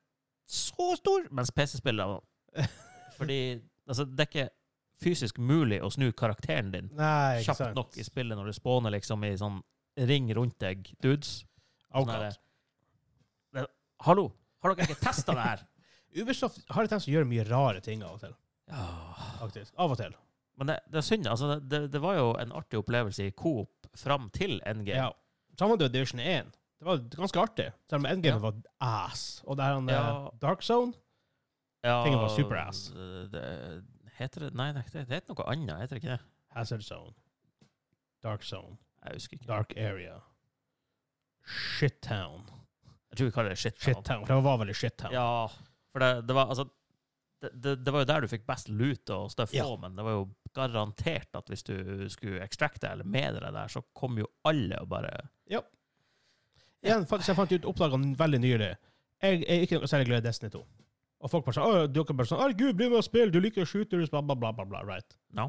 så stor, mens PC-spillerne Fordi altså, det er ikke fysisk mulig å snu karakteren din Nei, ikke kjapt sant. nok i spillet når du spåner liksom i sånn ring rundt deg, dudes. Oh, Sånn her, eh, God. det, Hallo, har dere ikke testa det her? Ubisoft har en tendens til å gjøre mye rare ting av og til. Ja. Faktisk. Av og til. Men det, det er synd. Altså, det- det, det var jo en artig opplevelse i Coop fram til NG. Ja. Samme det var Division 1. Det var ganske artig, selv om endgame Ja. var ass. Og det her han, Ja. eh, Dark Zone Ja, Tingen var super ass. Det, det- heter det Nei, det, det heter noe annet, heter det ikke det? Hazard Zone. Dark Zone. Jeg husker ikke. Dark Area. Shittown. Jeg tror vi kaller det shit. Shittown. For det var vel i Shittown. Ja, for det, det var altså det, det, det var jo der du fikk best loot og stuff Ja. på, men det var jo garantert at hvis du skulle extracte eller med deg det der, så kom jo alle og bare Igjen, faktisk, jeg fant ut oppdaga veldig nylig. Jeg er ikke noe særlig glad i Destiny 2. Og folk bare sånn «Å, dere bare sånn, Herregud, bli med og spill, du liker å skyte, du bla, bla, bla, bla, bla. Right? No.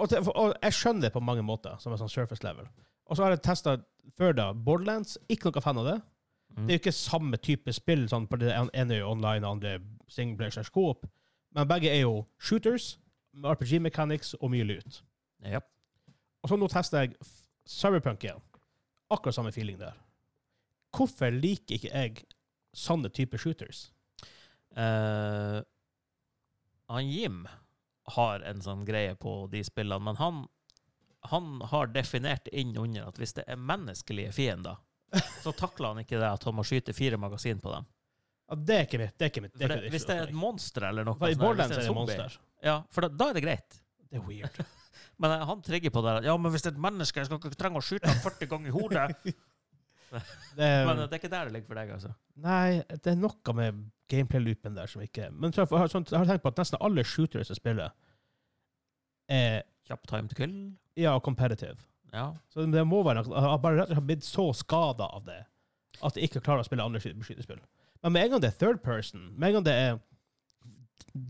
Og, det- og jeg skjønner det på mange måter, som en sånn surface level. Og så har jeg testa før da Borderlands. Ikke noe fan av det. Mm. Det er jo ikke samme type spill, sånn, på det en- ene er jo online, og andre singleplayer slash coop. Men begge er jo shooters, med RPG mechanics og mye lut. Ja. Og så nå tester jeg f- Cyberpunk igjen. Akkurat samme feeling der. Hvorfor liker ikke jeg sånne type shooters? Eh, han Jim har en sånn greie på de spillene, men han, han har definert inn under at hvis det er menneskelige fiender, så takler han ikke det at han må skyte fire magasin på dem. Ja, det er ikke mitt. Det er ikke mitt. Det For er det, ikke hvis det er et monster eller noe For I sånt der, Borderlands hvis er det en zombie, monster. Ja, for da, da er det greit. Det er weird. Men eh, han trigger på det. at, Ja, men hvis det er et menneske, jeg skal ikke trenge å skyte ham 40 ganger i hodet. Det er, Men eh, det er ikke der det ligger for deg, altså. Nei, det er noe med gameplay-loopen der som ikke Men så jeg, har- sånn, jeg har tenkt på at nesten alle shooters jeg spiller, er Kjapp time to kill. ja, competitive. Ja. Så det må være noe Jeg har bare rett og slett blitt så skada av det at jeg ikke klarer å spille andre sky- skytespill. Men med en gang det er third person, med en gang det er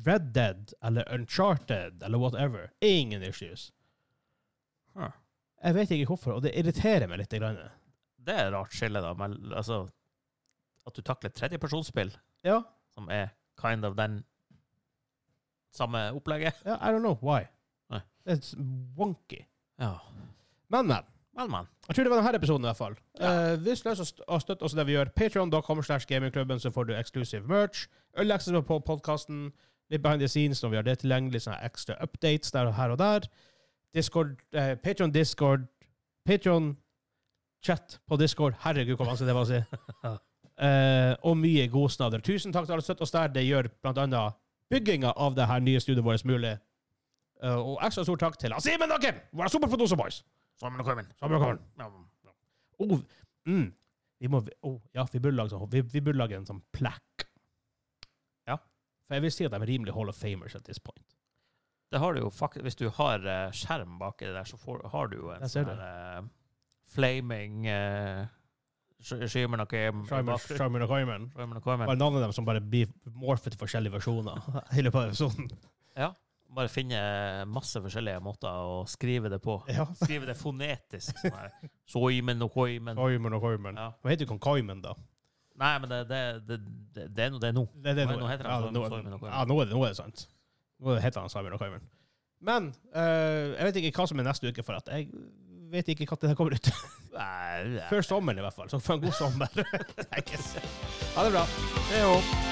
Red Dead eller Uncharted eller whatever, ingen issues. Huh. Jeg vet ikke hvorfor, og det irriterer meg litt. Grann. Det er et rart skille, da. Men altså At du takler tredjepersonsspill, Ja, som er kind of den samme opplegget. ja, I don't know why. Nei. Det er wonky. Ja. Men, men. Men, men. Jeg tror det var denne episoden i hvert fall. Ja. Eh, hvis du har lyst til å støtte oss i det vi gjør, patreon.com slash gamingklubben, så får du exclusive merch, ølaxes på podkasten, litt behind the scenes når vi har det tilgjengelig, sånne ekstra updates der og her og der. Discord, eh, Patreon Discord, Patreon chat på Discord, herregud hvor vanskelig det var å si. Eh, og mye godsnadder. Tusen takk til alle som støtter oss der. Det gjør blant annet bygginga av det her nye studioet vårt mulig. Eh, og ekstra stor takk til Simen Nakken, vår superproducer boys. Sammen og kommen. Sammen og kommen. Ja. Oh, mm. vi må, oh, ja, vi burde, lage sånn, vi, vi burde lage en sånn plakk. Ja. For jeg vil si at de er rimelig Hall of Famers at this point. Det har du jo fakt Hvis du har eh, skjerm baki det der, så får, har du jo en Jeg ser sånn her, eh, flaming uh, Skimmer noe i Shimon bakgrunnen. Shimon og Hyman. Shimmer noe i- Bare navnet dem som bare blir morfet til forskjellige versjoner. i løpet av episoden. Bare finne masse forskjellige måter å skrive det på. Ja. Skrive det fonetisk. sånn her. Soimen og koimen. Hyman og Hyman. Ja. Hva heter jo Kong Kaimen, da? Nei, men det, det, det, det, det er nå det er nå. Det, det, er Nei, noe- nå heter han ja, Simon nå, Simon og Kaiman. ja, nå, er det, nå er det sant. Nå heter han Simon og Hyman. Men eh, jeg vet ikke hva som er neste uke, for at jeg vet ikke når det her kommer ut. Nei, nei. Før sommeren, i hvert fall. Så få en god sommer. Tenkes. ha det bra. Hei